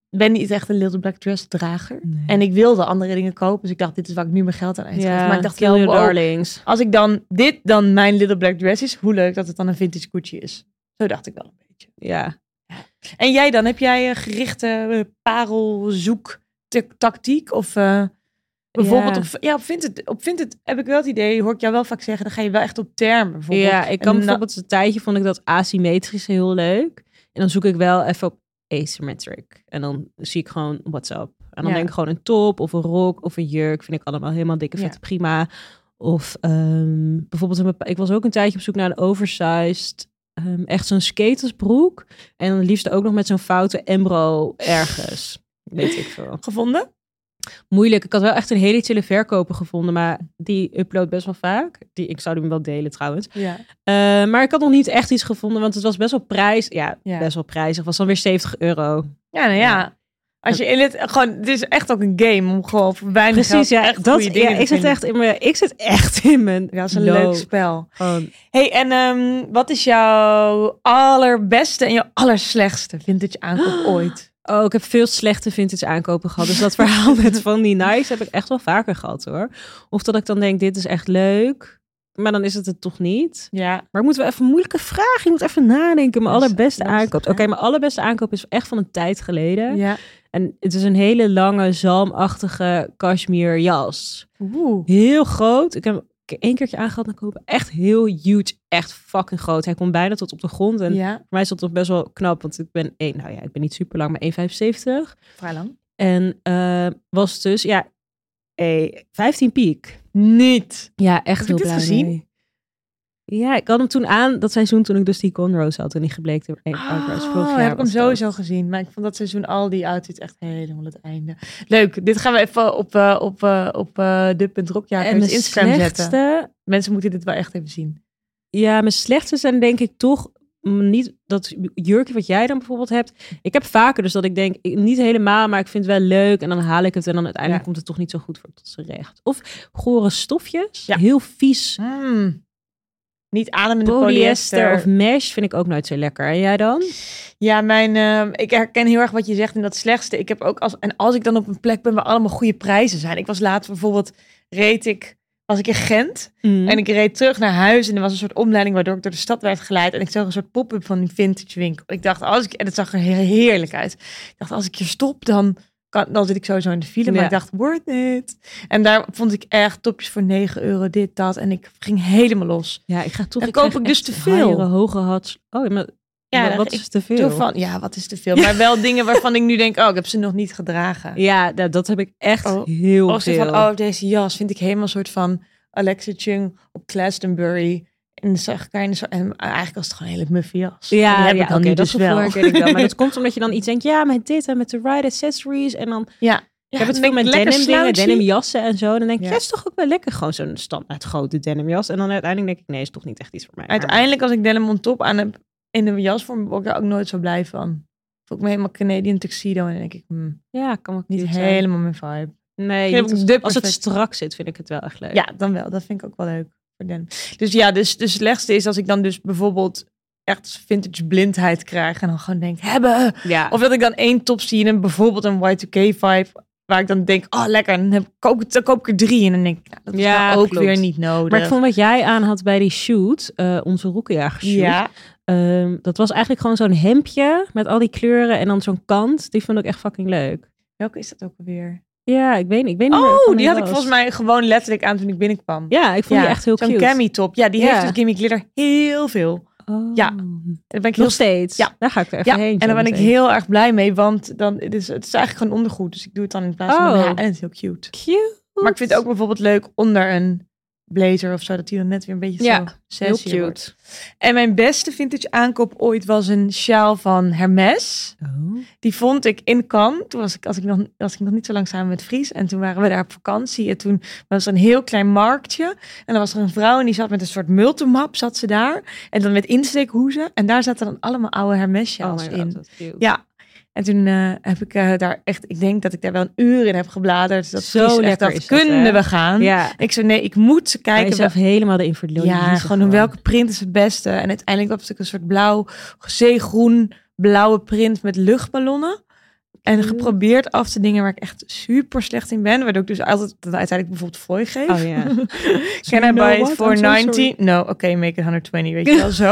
S2: ben niet echt een little black dress drager.
S1: Nee.
S2: En ik wilde andere dingen kopen, dus ik dacht, dit is waar ik nu mijn geld aan uitgeef. maar ik dacht
S1: kill
S2: wel,
S1: your
S2: wow,
S1: darlings.
S2: als ik dan dit dan mijn Little Black Dress is, hoe leuk dat het dan een vintage Gucci is. Zo dacht ik wel een beetje.
S1: Ja.
S2: En jij dan, heb jij eh, gerichte eh, parelzoek ta- tactiek of eh, bijvoorbeeld
S1: Ja.
S2: op, ja, op vindt het op vindt het heb ik wel het idee, hoor ik jou wel vaak zeggen, dan ga je wel echt op term bijvoorbeeld.
S1: ja, ik kan
S2: En dan-
S1: bijvoorbeeld een tijdje vond ik dat asymmetrische heel leuk. En dan zoek ik wel even op asymmetric. En dan zie ik gewoon WhatsApp. En dan
S2: Ja.
S1: denk ik gewoon een top of een rok of een jurk. Vind ik allemaal helemaal dikke
S2: Ja.
S1: vette prima. Of ehm, bijvoorbeeld, een bepa- ik was ook een tijdje op zoek naar een oversized, ehm, echt zo'n skatersbroek. En dan liefst ook nog met zo'n foute embro ergens. Weet ik veel.
S2: gevonden.
S1: Moeilijk. Ik had wel echt een hele chille verkoper gevonden, maar die upload best wel vaak. Die, ik zou hem wel delen trouwens.
S2: Ja.
S1: Eh, maar ik had nog niet echt iets gevonden, want het was best wel prijs. Ja,
S2: Ja.
S1: best wel prijzig. Was dan weer 70 euro.
S2: Ja, nou ja. Als je in het gewoon het is echt ook een game om gewoon voor weinig
S1: Precies,
S2: geld
S1: ja.
S2: echt
S1: dat,
S2: goede dingen
S1: ja
S2: te
S1: ik, zit
S2: vinden.
S1: echt in mijn, ik zit echt in mijn.
S2: Ja, dat is een
S1: low.
S2: leuk spel.
S1: Gewoon,
S2: Hey, en ehm, wat is jouw allerbeste en jouw allerslechtste vintage aankoop ooit?
S1: Oh, ik heb veel slechte vintage aankopen gehad. Dus dat verhaal met van die Nikes heb ik echt wel vaker gehad hoor. Of dat ik dan denk, dit is echt leuk. Maar dan is het het toch niet.
S2: Ja.
S1: Maar ik moet wel even een moeilijke vraag. Je moet even nadenken. Mijn
S2: Dat is
S1: allerbeste
S2: lastig,
S1: aankoop. Oké,
S2: hè?
S1: mijn allerbeste aankoop is echt van een tijd geleden.
S2: Ja.
S1: En het is een hele lange, zalmachtige cashmere jas.
S2: Oeh.
S1: Heel groot. Ik heb hem één keertje aangehad naar kopen. Echt heel huge. Echt fucking groot. Hij komt bijna tot op de grond. En
S2: Ja,
S1: voor mij is dat nog best wel knap. Want ik ben één, nou ja, ik ben niet super lang, maar 1,75.
S2: vrij lang.
S1: En eh, was dus, ja, eh, 15 piek.
S2: Niet.
S1: Ja, echt
S2: Heb ik
S1: heel
S2: dit
S1: blij
S2: gezien?
S1: mee. Ja, ik had hem toen aan, dat seizoen toen ik dus die cornrows had en die gebleekte eyebrows. Vorig
S2: Oh,
S1: jaar
S2: heb ik hem
S1: was
S2: sowieso
S1: dat.
S2: gezien. Maar ik vond dat seizoen al die outfits echt helemaal het einde. Leuk. Dit gaan we even op, eh op, eh op eh
S1: En
S2: de.rokjakers
S1: mijn
S2: Instagram zetten.
S1: slechtste,
S2: Mensen moeten dit wel echt even zien.
S1: Ja, mijn slechtste zijn denk ik toch mm, niet dat jurkje wat jij dan bijvoorbeeld hebt. Ik heb vaker dus dat ik denk, ik- niet helemaal, maar ik vind het wel leuk. En dan haal ik het en dan uiteindelijk
S2: Ja.
S1: komt het toch niet zo goed voor tot zijn recht. Of gore stofjes,
S2: Ja.
S1: heel vies.
S2: Mm. Niet ademende
S1: Polyester, of mesh vind ik ook nooit zo lekker. En jij dan?
S2: Ja, mijn, ehm, ik herken heel erg wat je zegt in dat slechtste. Ik heb ook als, en als ik dan op een plek ben waar allemaal goede prijzen zijn. Ik was laatst bijvoorbeeld, reed ik, was ik in Gent.
S1: Mhm.
S2: En ik reed terug naar huis en er was een soort omleiding waardoor ik door de stad werd geleid. En ik zag een soort pop-up van die vintage winkel. Ik dacht, als ik, en het zag er he- heerlijk uit. Ik dacht, als ik hier stop, dan kan, dan zit ik sowieso in de file. Maar
S1: Ja.
S2: ik dacht, worth it. En daar vond ik echt topjes voor 9 euro, dit, dat. En ik ging helemaal los.
S1: Ja, ik ga toch.
S2: Dan
S1: krijg
S2: koop ik dus
S1: echt
S2: te veel.
S1: hogere, Hoge hats. Oh, maar
S2: Ja,
S1: wat,
S2: dan-
S1: wat
S2: ik
S1: is te veel?
S2: Zo van, ja, wat is te veel. Maar wel dingen waarvan ik nu denk, oh, ik heb ze nog niet gedragen.
S1: Ja, nou, dat heb ik echt
S2: Oh,
S1: heel
S2: Of ze
S1: veel.
S2: van, oh, deze jas vind ik helemaal een soort van Alexa Chung op Glastonbury. En dan zag ik haar in de zo- en eigenlijk was het gewoon een hele muffe jas.
S1: ja,
S2: En die heb
S1: ja,
S2: ik dan
S1: oké,
S2: nu
S1: dat
S2: dus
S1: gevoel
S2: wel.
S1: herken ik wel. Maar dat komt omdat je dan iets denkt, ja, met dit en met de ride accessories. En dan, ik heb het veel met denim dingen, denim jassen en zo. En dan denk ik,
S2: Ja.
S1: ja, is toch ook wel lekker gewoon zo'n standaard grote denim jas. En dan uiteindelijk denk ik, nee, is toch niet echt iets voor mij. Maar-
S2: Uiteindelijk, als ik denim on top aan heb in een jasvorm, word ik daar ook nooit zo blij van. Voel ik me helemaal Canadian tuxedo en dan denk ik, hmm,
S1: Ja, kan ook
S2: niet
S1: niet zijn.
S2: helemaal mijn vibe.
S1: Nee,
S2: Ik heb
S1: niet
S2: ook
S1: als,
S2: de
S1: als het
S2: perfecte-
S1: strak zit, vind ik het wel echt leuk.
S2: Ja, dan wel. Dat vind ik ook wel leuk voor denim. Dus ja, dus, dus het slechtste is als ik dan dus bijvoorbeeld echt vintage blindheid krijg en dan gewoon denk, hebben!
S1: ja.
S2: Of dat ik dan één top zie en bijvoorbeeld een Y2K vibe. Waar ik dan denk, oh lekker, dan, heb, ik- koop, ik- dan koop ik er drie. En dan denk ik, nou, dat is
S1: Ja,
S2: nou ook
S1: klopt.
S2: weer niet nodig.
S1: maar ik vond wat jij aan had bij die shoot, eh, onze roekenjager shoot.
S2: ja,
S1: Ehm, dat was eigenlijk gewoon zo'n hemdje met al die kleuren en dan zo'n kant. Die vond ik echt fucking leuk.
S2: welke is dat ook alweer?
S1: Ja, ik weet, ik weet niet meer waarvan
S2: Oh, die
S1: hij
S2: had ik
S1: was.
S2: volgens mij gewoon letterlijk aan toen ik binnenkwam.
S1: Ja, ik vond
S2: Ja,
S1: die echt heel
S2: Zo'n
S1: cute.
S2: cami top. Ja, die
S1: Ja.
S2: heeft dus Gimme Glitter heel veel. En
S1: Oh.
S2: Ja. daar ben ik heel
S1: Nog steeds?
S2: Ja.
S1: Daar ga ik er even
S2: ja,
S1: heen.
S2: en daar ben ik
S1: zometeen.
S2: heel erg blij mee, want dan, het, is, het is eigenlijk gewoon ondergoed. Dus ik doe het dan in plaats van
S1: Oh.
S2: een BH. En het is heel cute.
S1: Cute.
S2: Maar ik vind het ook bijvoorbeeld leuk onder een blazer of zo, dat die dan net weer een beetje
S1: Ja,
S2: zo
S1: heel
S2: sexy wordt.
S1: cute.
S2: En mijn beste vintage aankoop ooit was een sjaal van Hermes.
S1: Oh.
S2: Die vond ik in Cannes. Toen was ik, als ik, nog, was ik nog niet zo lang samen met Fries. En toen waren we daar op vakantie. En toen was er een heel klein marktje. En dan was er een vrouw en die zat met een soort multimap. Zat ze daar. En dan met insteekhoezen. En daar zaten dan allemaal oude Hermes
S1: Oh
S2: sjaals
S1: my
S2: in.
S1: god, wat cute.
S2: Ja. En toen eh, heb ik eh, daar echt... Ik denk dat ik daar wel een uur in heb gebladerd. Dat
S1: Zo
S2: Fries echt
S1: lekker
S2: dacht,
S1: is dat,
S2: kunnen
S1: hè?
S2: we gaan?
S1: Ja.
S2: Ik zei, nee, ik moet ze
S1: Hij
S2: kijken.
S1: is zelf helemaal de invalide.
S2: Ja, gewoon om welke print is het beste. En uiteindelijk was ik een soort blauw, zeegroen, blauwe print met luchtballonnen. En
S1: Cute.
S2: geprobeerd af te dingen waar ik echt super slecht in ben. Waardoor ik dus altijd dan uiteindelijk bijvoorbeeld fooi geef.
S1: Oh ja.
S2: Can I
S1: You know
S2: buy it
S1: what? I'm so
S2: for
S1: sorry.
S2: 90? No, oké, make it 120, weet je wel zo.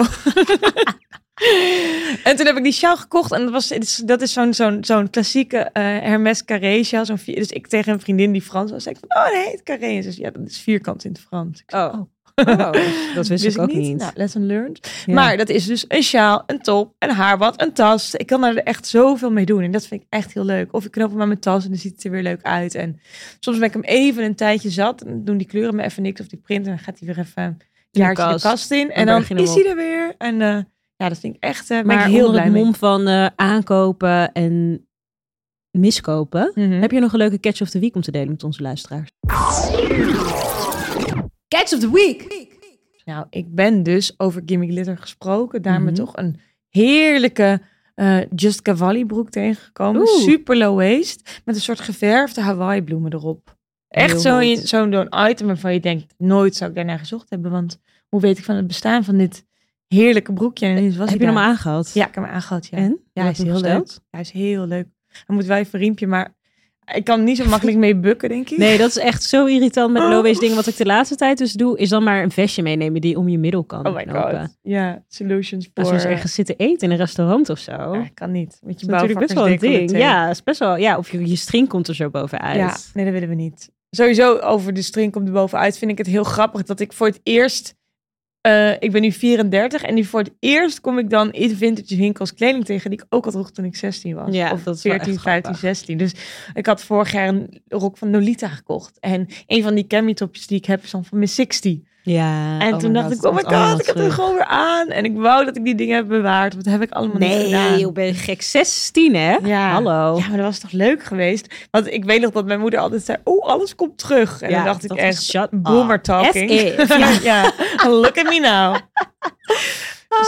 S2: en toen heb ik die sjaal gekocht. En dat, was, het is- dat is zo'n zo'n zo'n klassieke eh, Hermes carré sjaal. zo'n vier- dus ik tegen een vriendin die Frans was, zei ik van, oh nee, het carré. En ze zei, ja, dat is vierkant in het Frans. Ik zei,
S1: Oh. Oh, dat wist ik ook niet.
S2: Nou, lesson learned.
S1: Ja.
S2: Maar dat is dus een sjaal, een top, een haarband, een tas. Ik kan daar echt zoveel mee doen. En dat vind ik echt heel leuk. Of ik knoop hem aan mijn tas en dan ziet het er weer leuk uit. En soms ben ik hem even een tijdje zat. En dan doen die kleuren me even niks. Of die print. En dan gaat hij weer even een jaartje de
S1: kast.
S2: kast, in.
S1: berg
S2: En dan
S1: je hem
S2: is hij er weer. En eh, ja, dat vind ik echt eh, ben
S1: maar
S2: ik heel
S1: onder
S2: blij
S1: het
S2: mee.
S1: mom van eh, aankopen en miskopen,
S2: Mhm.
S1: heb je nog een leuke catch of the week om te delen met onze luisteraars? Catch of the week.
S2: Nou, ik ben dus over Gimme Glitter gesproken. Daar me
S1: Mhm.
S2: toch een heerlijke eh, Just Cavalli broek tegengekomen.
S1: Oeh.
S2: Super low waist. Met een soort geverfde Hawaii bloemen erop. Echt
S1: Heel
S2: zo'n
S1: hot.
S2: zo'n zo'n item waarvan je denkt, nooit zou ik daarnaar gezocht hebben. Want hoe weet ik van het bestaan van dit heerlijke broekje? En ineens was
S1: Heb je
S2: hij
S1: hem
S2: daar.
S1: aangehad?
S2: Ja, ik heb hem aangehad, ja.
S1: En?
S2: Ja, hij is heel leuk. Hij is heel leuk. Hij moet wel even een riempje, maar ik kan er niet zo makkelijk mee bukken, denk ik.
S1: Nee, dat is echt zo irritant
S2: Oh.
S1: met low-waist dingen. Wat ik de laatste tijd dus doe, is dan maar een vestje meenemen die om je middel kan
S2: Oh my
S1: knopen.
S2: god. Ja, solutions
S1: Als we
S2: voor...
S1: eens ergens zitten eten in een restaurant of zo.
S2: Ja, ik kan niet. Met
S1: Oh. dat is
S2: je
S1: natuurlijk best wel een ding.
S2: bouwvakkersdecolleté.
S1: Ja, is best wel. Ja, of je, je string komt er zo bovenuit.
S2: Ja, nee, dat willen we niet. Sowieso over de string komt er bovenuit vind ik het heel grappig dat ik voor het eerst... eh, ik ben nu 34 en nu voor het eerst kom ik dan in vintage winkels kleding tegen die ik ook al droeg toen ik 16 was.
S1: Ja,
S2: of
S1: dat is wel
S2: 14,
S1: echt
S2: 15,
S1: grappig.
S2: 16. Dus ik had vorig jaar een rok van Lolita gekocht. En een van die cami topjes die ik heb is dan van mijn 60.
S1: Ja,
S2: En
S1: oh
S2: toen
S1: my
S2: dacht
S1: god,
S2: ik, oh my
S1: het komt allemaal
S2: god, ik heb het
S1: terug.
S2: gewoon weer aan. En ik wou dat ik die dingen heb bewaard. want Dat heb ik allemaal niet gedaan.
S1: Nee, ik ben je gek. 16, hè?
S2: Ja.
S1: Hallo.
S2: Ja, maar dat was toch leuk geweest? Want ik weet nog dat mijn moeder altijd zei, oh, alles komt terug. En
S1: Ja,
S2: dan dacht ik
S1: dat
S2: echt,
S1: is shut
S2: boomer
S1: up.
S2: talking.
S1: As if.
S2: ja. look at me now.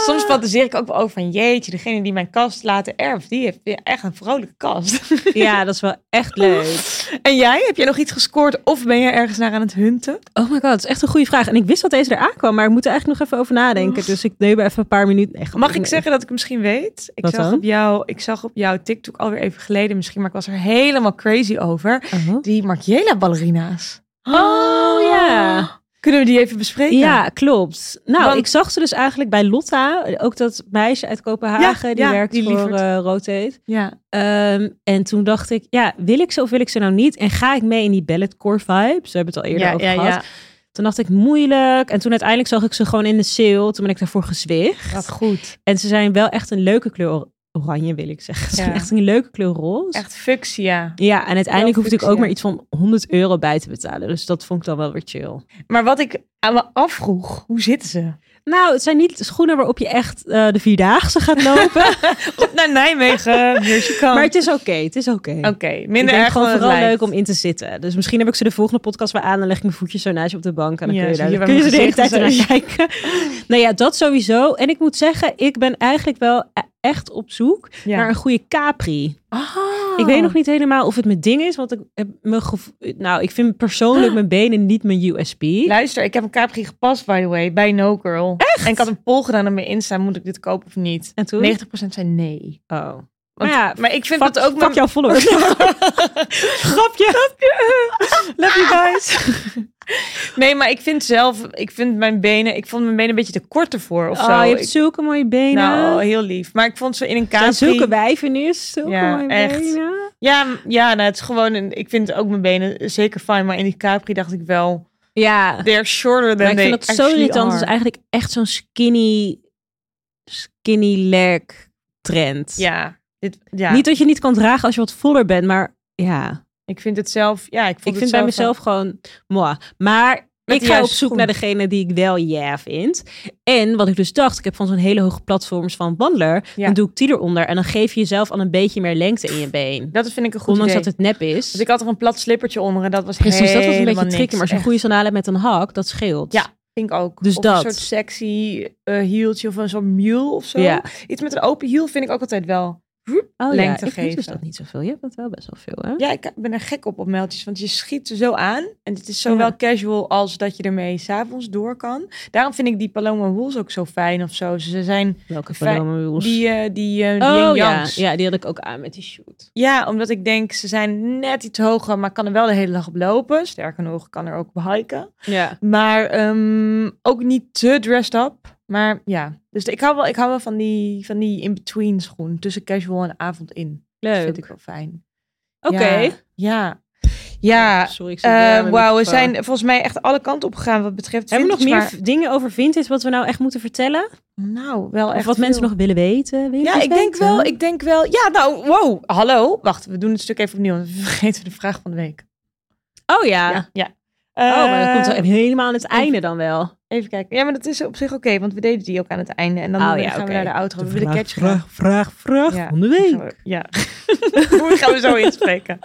S2: Soms
S1: Ah.
S2: fantaseer ik ook wel over van, jeetje, degene die mijn kast later erft, die heeft weer echt een vrolijke kast.
S1: Ja, dat is wel echt leuk.
S2: en jij, heb jij nog iets gescoord of ben jij ergens naar aan het hunten?
S1: Oh my god, dat is echt een goede vraag. En ik wist dat deze eraan kwam, maar ik moet er eigenlijk nog even over nadenken. Dus ik neem er even een paar minuten. Nee,
S2: Mag ik
S1: nee.
S2: zeggen dat ik het misschien weet? Ik
S1: Wat
S2: zag,
S1: dan?
S2: op jou, ik zag op jouw TikTok alweer even geleden misschien, maar ik was er helemaal crazy over.
S1: Oh.
S2: Die Margiela ballerina's.
S1: Oh, ja.
S2: Kunnen we die even bespreken?
S1: Ja, klopt. Nou,
S2: Ah, Want-
S1: ik zag ze dus eigenlijk bij Lotta, ook dat meisje uit Kopenhagen,
S2: Ja,
S1: die
S2: ja,
S1: werkt
S2: die
S1: voor
S2: lieverd.
S1: eh Rotate.
S2: ja.
S1: Ehm, en toen dacht ik, ja, wil ik ze of wil ik ze nou niet? En ga ik mee in die balletcore vibes? We hebben het al eerder over gehad. Toen dacht ik, moeilijk. En toen uiteindelijk zag ik ze gewoon in de sale. Toen ben ik daarvoor gezwicht.
S2: Wat goed.
S1: En ze zijn wel echt een leuke kleur or- oranje, wil ik zeggen. Ze
S2: Ja.
S1: zijn echt een leuke kleur roze.
S2: Echt fuchsia.
S1: Ja, en uiteindelijk
S2: Wel
S1: hoefde ik ook
S2: fuchsia.
S1: maar iets van 100 euro bij te betalen. Dus dat vond ik dan wel weer chill.
S2: Maar wat ik aan me afvroeg, hoe zitten ze?
S1: Nou, het zijn niet schoenen waarop je echt eh, de Vierdaagse gaat lopen.
S2: Op naar Nijmegen,
S1: maar
S2: Maar
S1: het is oké, het is oké.
S2: Oké,
S1: Ik
S2: minder
S1: denk
S2: erg
S1: gewoon
S2: dan het
S1: vooral
S2: lijkt.
S1: leuk om in te zitten. Dus misschien heb ik ze de volgende podcast weer aan. Dan leg ik mijn voetjes zo naast je op de bank. En dan
S2: Ja,
S1: kun je,
S2: zie je
S1: daar,
S2: waar
S1: kun je ze
S2: mijn
S1: de hele tijd
S2: gezicht
S1: naar kijken. nou ja, dat sowieso. En ik moet zeggen, ik ben eigenlijk wel e- echt op zoek
S2: Ja.
S1: naar een goede Capri.
S2: Ah.
S1: Ik weet nog niet helemaal of het mijn ding is. Want ik heb mijn gevo- Nou, ik vind persoonlijk mijn benen niet mijn USP.
S2: Luister, ik heb een Capri gepast, by the way, bij No Girl. Echt? En ik had een poll gedaan aan mijn Insta, moet ik dit kopen of niet?
S1: En toen?
S2: 90% zei nee.
S1: Oh.
S2: Want-
S1: maar ja,
S2: maar ik vind
S1: fuck,
S2: dat ook...
S1: fuck jouw followers. Grapje.
S2: Love you guys. nee, maar ik vind zelf, ik vind mijn benen, ik vond mijn benen een beetje te kort ervoor of zo.
S1: Oh, je hebt
S2: Ik-
S1: zulke mooie benen.
S2: nou, heel lief. Maar ik vond ze in een
S1: Er zijn
S2: Capri...
S1: zulke wijven nu. Zulke
S2: Ja,
S1: mooie
S2: echt.
S1: benen.
S2: Ja, m- ja nou, het is gewoon, een, ik vind ook mijn benen zeker fijn, maar in die Capri dacht ik wel,
S1: Ja.
S2: they're shorter than
S1: Maar ik
S2: they
S1: vind dat zo irritant. Het is
S2: eigenlijk.
S1: eigenlijk echt zo'n skinny, skinny leg trend.
S2: Ja, dit, ja.
S1: Niet dat je niet kan dragen als je wat voller bent, maar ja.
S2: ik vind het zelf, ja, ik, vond
S1: Ik vind
S2: het
S1: bij
S2: zelf
S1: mezelf gewoon moi. Maar
S2: Met de
S1: ik ga op
S2: juiste
S1: zoek
S2: schoen.
S1: naar degene die ik wel ja vind. En wat ik dus dacht, ik heb van zo'n hele hoge platforms van Wandler,
S2: Ja.
S1: dan doe ik die eronder en dan geef je jezelf al een beetje meer lengte in je been.
S2: Dat vind ik een goed
S1: Ondanks
S2: idee.
S1: dat het nep is.
S2: Dus ik had er een plat slippertje onder en dat was
S1: Precies, dat was een beetje
S2: helemaal
S1: tricky.
S2: niks.
S1: Maar als je een
S2: Echt,
S1: goede sandalen hebt met een hak, dat scheelt.
S2: Ja, vind ik ook.
S1: Dus
S2: of
S1: dat.
S2: een soort sexy eh hieltje of een soort mule of zo.
S1: Ja.
S2: Iets met een open hiel vind ik ook altijd wel.
S1: Oh,
S2: Lengte
S1: ja. Ik doe dus
S2: geven.
S1: dat niet zoveel. Je hebt dat wel best wel veel, hè?
S2: Ja, ik ben er gek op op meldjes, want je schiet er zo aan. En het is
S1: Ja.
S2: zowel casual als dat je ermee s'avonds door kan. Daarom vind ik die Paloma Wools ook zo fijn of zo. Ze zijn
S1: Welke
S2: Fijn-
S1: Paloma Mules?
S2: die, eh die, eh, die
S1: oh ja.
S2: yin-yangs.
S1: ja, die had ik ook aan met die shoot.
S2: Ja, omdat ik denk, ze zijn net iets hoger, maar ik kan er wel de hele dag op lopen. Sterker nog, ik kan er ook op hiken.
S1: Ja.
S2: Maar ehm, ook niet te dressed up. Maar ja, dus ik hou wel, ik hou wel van die, van die in-between schoen. Tussen casual en avond in. Dat vind ik
S1: Leuk.
S2: wel fijn.
S1: Oké.
S2: Ja. Ja. ja.
S1: Oh, Sorry, ik zit weer aan
S2: eh,
S1: mijn
S2: Wauw, we
S1: microfoon.
S2: zijn volgens mij echt alle kanten op gegaan wat betreft
S1: Hebben we nog meer
S2: vintage,
S1: v- dingen over vintage wat we nou echt moeten vertellen?
S2: maar- Nou, wel
S1: Of
S2: echt
S1: wat mensen
S2: veel.
S1: nog willen weten? Wil je nog
S2: Ja,
S1: iets
S2: ik denk
S1: weten?
S2: wel, ik denk wel. Ja, nou, wow, hallo. Wacht, we doen het stuk even opnieuw, want we vergeten de vraag van de week.
S1: Oh ja.
S2: Ja. ja.
S1: Oh, maar dat komt
S2: Eh,
S1: wel helemaal aan het einde dan wel.
S2: Even kijken. Ja, maar dat is op zich oké, want we deden die ook aan het einde. En dan eh,
S1: Oh
S2: gaan
S1: ja,
S2: we
S1: oké.
S2: naar de outro. we willen catch
S1: vraag, vraag, vraag
S2: Ja.
S1: van de
S2: Gaan
S1: week.
S2: we- Ja. Hoe gaan we zo inspreken?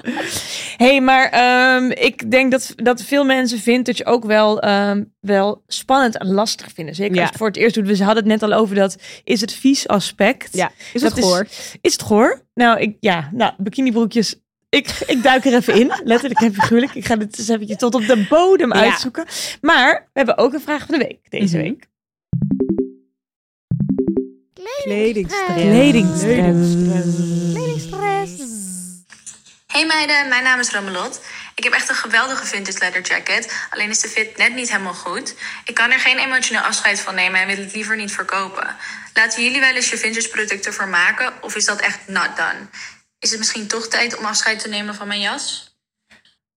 S2: hey, maar ehm, ik denk dat, dat veel mensen vintage ook wel, ehm, wel spannend en lastig vinden. Zeker
S1: Ja.
S2: als je het voor het eerst doet. We hadden het net al over dat is het vies aspect.
S1: Ja, is
S2: Dat
S1: het
S2: is-
S1: gehoord?
S2: Is het goor? Nou, ik, ja, nou, bikinibroekjes. Ik, ik duik er even in, letterlijk en figuurlijk. Ik ga dit eens eventjes tot op de bodem
S1: Ja.
S2: uitzoeken. Maar we hebben ook een vraag van de week deze
S1: Mhm.
S2: week.
S1: Kledingstress.
S2: Kledingstress.
S3: Hey meiden, mijn naam is Ramelot. Ik heb echt een geweldige vintage leather jacket. Alleen is de fit net niet helemaal goed. Ik kan er geen emotioneel afscheid van nemen en wil het liever niet verkopen. Laten jullie wel eens je vintage producten voor maken of is dat echt not done? Is het misschien toch tijd om afscheid te nemen van mijn jas?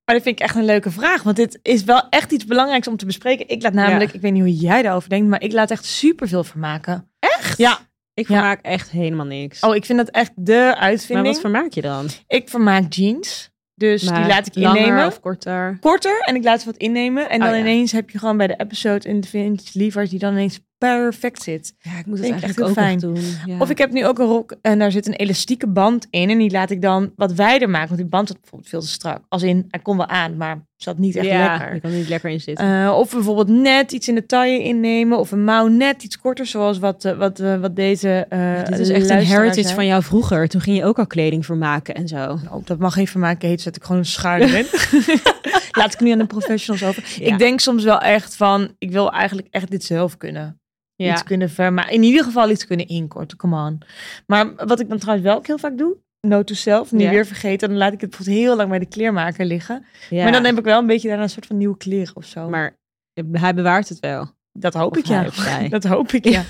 S2: Maar dat vind ik echt een leuke vraag. Want dit is wel echt iets belangrijks om te bespreken. Ik laat namelijk,
S1: Ja.
S2: ik weet niet hoe jij daarover denkt, maar ik laat echt superveel vermaken. Echt? Ja.
S1: Ik
S2: Ja.
S1: vermaak echt helemaal niks.
S2: Oh, ik vind dat echt de
S1: maar
S2: uitvinding.
S1: wat vermaak je dan?
S2: Ik vermaak jeans. Dus
S1: Maar
S2: die laat ik
S1: langer
S2: innemen.
S1: of korter?
S2: Korter en ik laat ze wat innemen. En
S1: Oh,
S2: dan
S1: ja.
S2: ineens heb je gewoon bij de episode een vintage lieverd die dan ineens perfect zit.
S1: Ja, ik moet
S2: Vind ik echt heel
S1: ook
S2: fijn.
S1: nog doen. Ja.
S2: Of ik heb nu ook een rok en daar zit een elastieke band in. En die laat ik dan wat wijder maken. Want die band zat bijvoorbeeld veel te strak. Als in, hij kon wel aan, maar zat niet echt
S1: ja,
S2: lekker.
S1: ik kan er niet lekker in zitten.
S2: Eh, of bijvoorbeeld net iets in de taille innemen. Of een mouw net iets korter, zoals wat, eh, wat, eh, wat deze. eh
S1: Dit is echt een heritage van
S2: je.
S1: jou vroeger. Toen ging je ook al kleding vermaken en zo.
S2: Oh, dat mag even maken heet, zet ik gewoon een schaar erin. Laat ik nu aan de professionals over.
S1: Ja.
S2: Ik denk soms wel echt van, ik wil eigenlijk echt dit zelf kunnen. Iets
S1: Ja.
S2: kunnen vermaken. In ieder geval iets kunnen inkorten, come on. Maar wat ik dan trouwens wel ook heel vaak doe, note to self, nu
S1: Ja.
S2: weer vergeten. Dan laat ik het bijvoorbeeld heel lang bij de kleermaker liggen.
S1: Ja.
S2: Maar dan heb ik wel een beetje daarna een soort van nieuwe kleren of zo.
S1: Maar Hij bewaart het wel.
S2: Dat hoop
S1: Of
S2: ik ja.
S1: hij of zij.
S2: Dat hoop ik ja.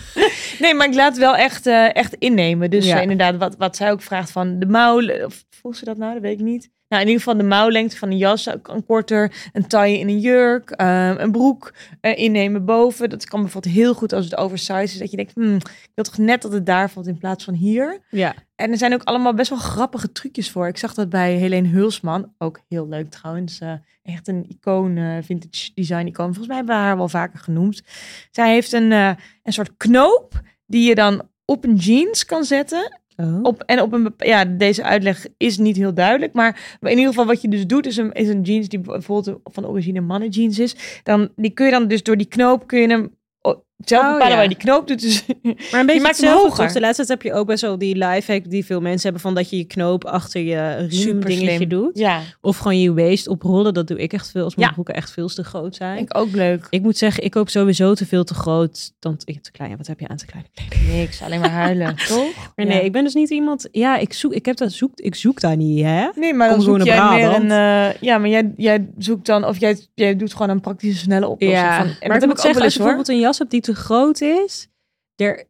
S2: nee, maar ik laat wel echt, eh, echt innemen. Dus
S1: Ja.
S2: eh, inderdaad, wat, wat zij ook vraagt van de mouw... Of voelt ze dat nou? Dat weet ik niet. Nou, in ieder geval de mouwlengte van een jas, ook een korter, een taille in een jurk, eh, een broek eh, innemen boven. Dat kan bijvoorbeeld heel goed als het oversized is. Dat je denkt, hmm, ik wil toch net dat het daar valt in plaats van hier.
S1: Ja.
S2: En er zijn ook allemaal best wel grappige trucjes voor. Ik zag dat bij Helene Hulsman. Ook heel leuk trouwens. Eh, echt een icoon, eh, vintage design icoon. Volgens mij hebben we haar wel vaker genoemd. Zij heeft een, eh, een soort knoop die je dan op een jeans kan zetten.
S1: Oh.
S2: Op, en op een bepa- ja, deze uitleg is niet heel duidelijk. Maar in ieder geval wat je dus doet is een, is een jeans die bijvoorbeeld van origine mannen jeans is. Dan, die kun je dan dus door die knoop kun je hem o- zelf
S1: Oh,
S2: bepalen
S1: ja.
S2: waar je die knoop doet. Dus
S1: Maar een beetje
S2: maakt hem
S1: hetzelfde,
S2: hoger.
S1: toch? De laatste tijd heb je ook best wel die lifehack die veel mensen hebben van dat je je knoop achter je riem
S2: Super
S1: dingetje
S2: slim.
S1: doet.
S2: ja,
S1: Of gewoon je waist oprollen. Dat doe ik echt veel als mijn
S2: Ja.
S1: broeken echt veel te groot zijn. Ik,
S2: ik ook leuk.
S1: moet zeggen, ik koop sowieso te veel te groot. Dan ik heb te klein. Ja, wat heb je aan te kleine kleding?
S2: Niks, alleen maar huilen, toch?
S1: Maar nee, ik ben dus niet iemand. Ja, ik zoek. Ik heb dat zoek. Ik zoek daar niet, hè?
S2: Nee, maar
S1: kom
S2: dan
S1: gewoon
S2: zoek
S1: naar
S2: jij meer een...
S1: Brabant.
S2: eh, ja, maar jij, jij zoekt dan... Of jij, jij doet gewoon een praktische, snelle oplossing. van, en
S1: maar
S2: dat
S1: ik moet
S2: heb ik ook
S1: zeggen,
S2: wel
S1: als
S2: eens,
S1: je
S2: hoor.
S1: bijvoorbeeld een jas hebt die te groot is, er,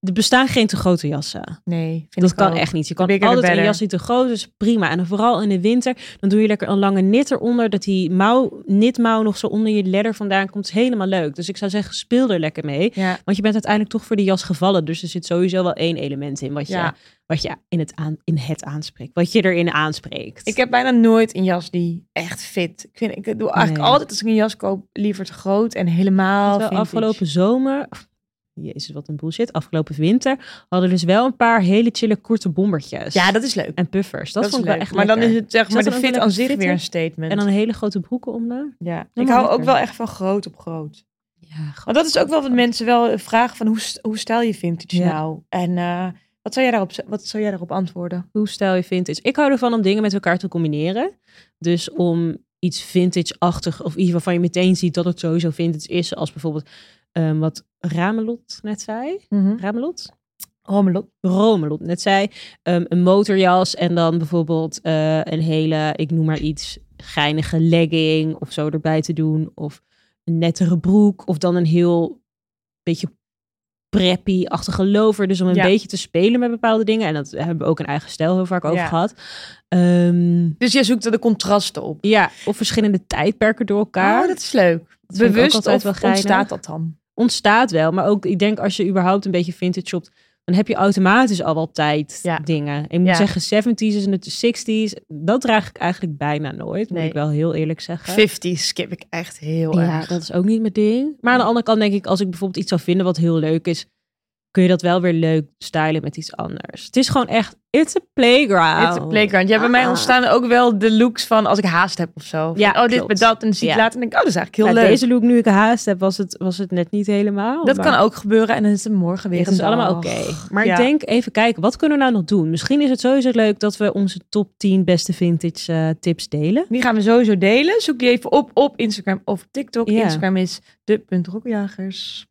S1: er bestaan geen te grote jassen.
S2: Nee, vind
S1: Dat
S2: ik
S1: kan
S2: ook.
S1: echt niet. Je kan
S2: Bigger the
S1: altijd een
S2: better.
S1: jas die te groot is, prima. En dan vooral in de winter, dan doe je lekker een lange knit eronder, dat die mouw, knitmouw nog zo onder je ledder vandaan komt. Is helemaal leuk. Dus ik zou zeggen, speel er lekker mee.
S2: Ja,
S1: Want je bent uiteindelijk toch voor die jas gevallen. Dus er zit sowieso wel één element in wat je,
S2: Ja.
S1: wat je in, het aan, in het aanspreekt. Wat je erin aanspreekt.
S2: ik heb bijna nooit een jas die echt fit. Ik, vind, ik doe eigenlijk
S1: Nee.
S2: altijd als ik een jas koop, liever te groot en helemaal
S1: Want wel
S2: vintage.
S1: afgelopen zomer. of, Jezus, wat een bullshit. Afgelopen winter hadden we dus wel een paar hele chille korte bombertjes.
S2: Ja, dat is leuk.
S1: en puffers. Dat,
S2: is
S1: vond ik
S2: leuk.
S1: wel echt
S2: Maar dan
S1: lekker.
S2: is het zeg maar
S1: Zat
S2: de
S1: er ook wel
S2: fit
S1: lekker
S2: aan zich
S1: fit
S2: weer
S1: in?
S2: een statement.
S1: En dan hele grote broeken onder.
S2: ja. Ik
S1: maar
S2: hou
S1: lekker.
S2: ook wel echt van groot op groot.
S1: Ja,
S2: Maar dat is ook wel wat mensen wel eh, vragen van hoe, st- hoe stijl je vintage
S1: Ja.
S2: nou? En eh, wat, zou jij daarop, z- wat zou jij daarop antwoorden?
S1: hoe stijl je vintage. Ik hou ervan om dingen met elkaar te combineren. Dus om iets vintage-achtig of iets waarvan je meteen ziet dat het sowieso vintage is. Als bijvoorbeeld ehm, wat Ramelot net zei.
S2: Mhm.
S1: Ramelot?
S2: Rommelot.
S1: Romelot net zei. ehm, een motorjas en dan bijvoorbeeld eh, een hele, ik noem maar iets, geinige legging of zo erbij te doen. Of een nettere broek. Of dan een heel beetje preppy-achtige lover. Dus om een
S2: Ja.
S1: beetje te spelen met bepaalde dingen. En dat hebben we ook een eigen stijl heel vaak over
S2: Ja.
S1: gehad. Ehm,
S2: Dus jij zoekt er de contrasten op.
S1: ja, of verschillende tijdperken door elkaar.
S2: Oh, dat is leuk.
S1: Dat vind ik ook
S2: Bewust
S1: altijd
S2: of
S1: wel geinig.
S2: ontstaat dat dan?
S1: ontstaat wel. Maar ook, ik denk als je überhaupt een beetje vintage shopt, dan heb je automatisch al wel tijd
S2: Ja.
S1: dingen. Ik moet
S2: Ja.
S1: zeggen, 70s en de 60s, dat draag ik eigenlijk bijna nooit. Moet
S2: Nee.
S1: ik wel heel eerlijk zeggen.
S2: 50 skip ik echt heel
S1: ja, dat is ook niet mijn ding. Maar aan de andere kant denk ik, als ik bijvoorbeeld iets zou vinden wat heel leuk is, kun je dat wel weer leuk stylen met iets anders. Het is gewoon echt, it's a playground.
S2: It's a playground. Ja, bij mij
S1: Ah.
S2: ontstaan ook wel de looks van als ik haast heb of zo. Van,
S1: Ja,
S2: oh, dit
S1: klopt.
S2: met dat. En dan zie ik
S1: Ja.
S2: later en denk ik, oh, dat is eigenlijk
S1: Bij
S2: heel leuk.
S1: Nou, deze look, nu ik haast heb, was het, was het net niet helemaal.
S2: dat
S1: maar-
S2: kan ook gebeuren en dan is het morgen weer
S1: Ja,
S2: een
S1: het is allemaal
S2: dag.
S1: oké. Maar
S2: Ja.
S1: ik denk, even kijken, wat kunnen we nou nog doen? Misschien is het sowieso leuk dat we onze top 10 beste vintage eh, tips delen.
S2: Die gaan we sowieso delen. Zoek die even op op Instagram of op TikTok.
S1: Ja.
S2: Instagram is de.rokkenjagers.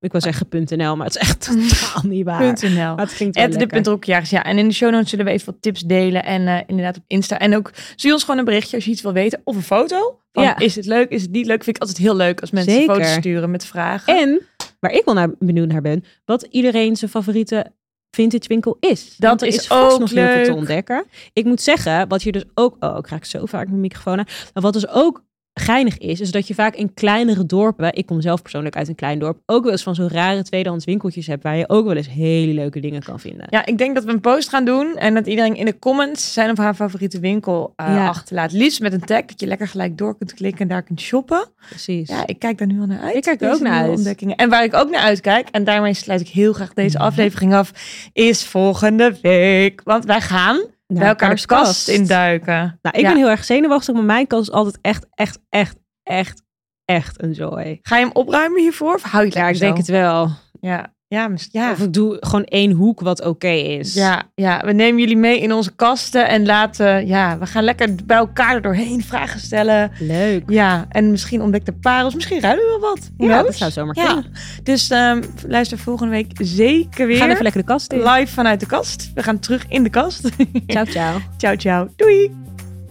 S1: Ik wou zeggen .nl, maar het is echt totaal niet waar.
S2: .nl.
S1: Maar het klinkt Oh, wel
S2: Het de
S1: lekker.
S2: Pentrokkenjagers, ja. En in de show notes zullen we even wat tips delen. En eh, inderdaad op Insta. En ook stuur ons gewoon een berichtje als je iets wil weten. Of een foto. Van,
S1: Ja.
S2: Is het leuk? Is het niet leuk? Vind ik altijd heel leuk als mensen
S1: Zeker.
S2: foto's sturen met vragen.
S1: En, waar ik wel naar benieuwd naar ben, wat iedereen zijn favoriete vintage winkel is.
S2: Dat
S1: Want er
S2: is
S1: vast
S2: ook
S1: nog heel veel te
S2: leuk.
S1: ontdekken. Ik moet zeggen, wat je dus ook... Oh, ik raak zo vaak mijn microfoon aan. Maar wat dus ook geinig is, is dat je vaak in kleinere dorpen... Ik kom zelf persoonlijk uit een klein dorp. Ook wel eens van zo'n rare tweedehands winkeltjes hebt... waar je ook wel eens hele leuke dingen kan vinden.
S2: Ja, ik denk dat we een post gaan doen. En dat iedereen in de comments zijn of haar favoriete winkel eh,
S1: Ja.
S2: achterlaat. Liefst met een tag dat je lekker gelijk door kunt klikken en daar kunt shoppen.
S1: Precies.
S2: Ja, ik kijk daar nu al naar uit.
S1: Ik kijk er
S2: Deze
S1: ook naar
S2: nieuwe
S1: uit.
S2: Ontdekkingen. En waar ik ook naar uitkijk, en daarmee sluit ik heel graag deze
S1: Mhm.
S2: aflevering af, is volgende week. Want wij gaan bij elkaar de kast induiken.
S1: Nou, ik
S2: Ja.
S1: ben heel erg zenuwachtig, maar mijn kast is altijd echt, echt, echt, echt, echt een zooi.
S2: Ga je hem opruimen hiervoor? Of hou je het
S1: Ja, ik denk het wel.
S2: Ja, ja, mis- ja.
S1: Of ik doe gewoon één hoek wat oké is.
S2: Ja, ja, we nemen jullie mee in onze kasten en laten, ja, we gaan lekker bij elkaar er doorheen vragen stellen.
S1: Leuk.
S2: Ja, en misschien ontdekt de parels, misschien ruilen we wel wat. Who
S1: Ja,
S2: knows?
S1: dat zou zomaar
S2: Ja.
S1: kunnen.
S2: Dus ehm, luister volgende week zeker
S1: We
S2: weer
S1: gaan even lekker de kast in.
S2: live vanuit de kast. We gaan terug in de kast.
S1: Ciao, ciao.
S2: ciao, ciao. Doei.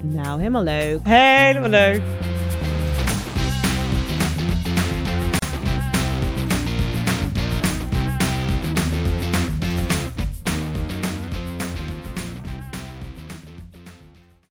S1: Nou, helemaal leuk.
S2: Helemaal leuk.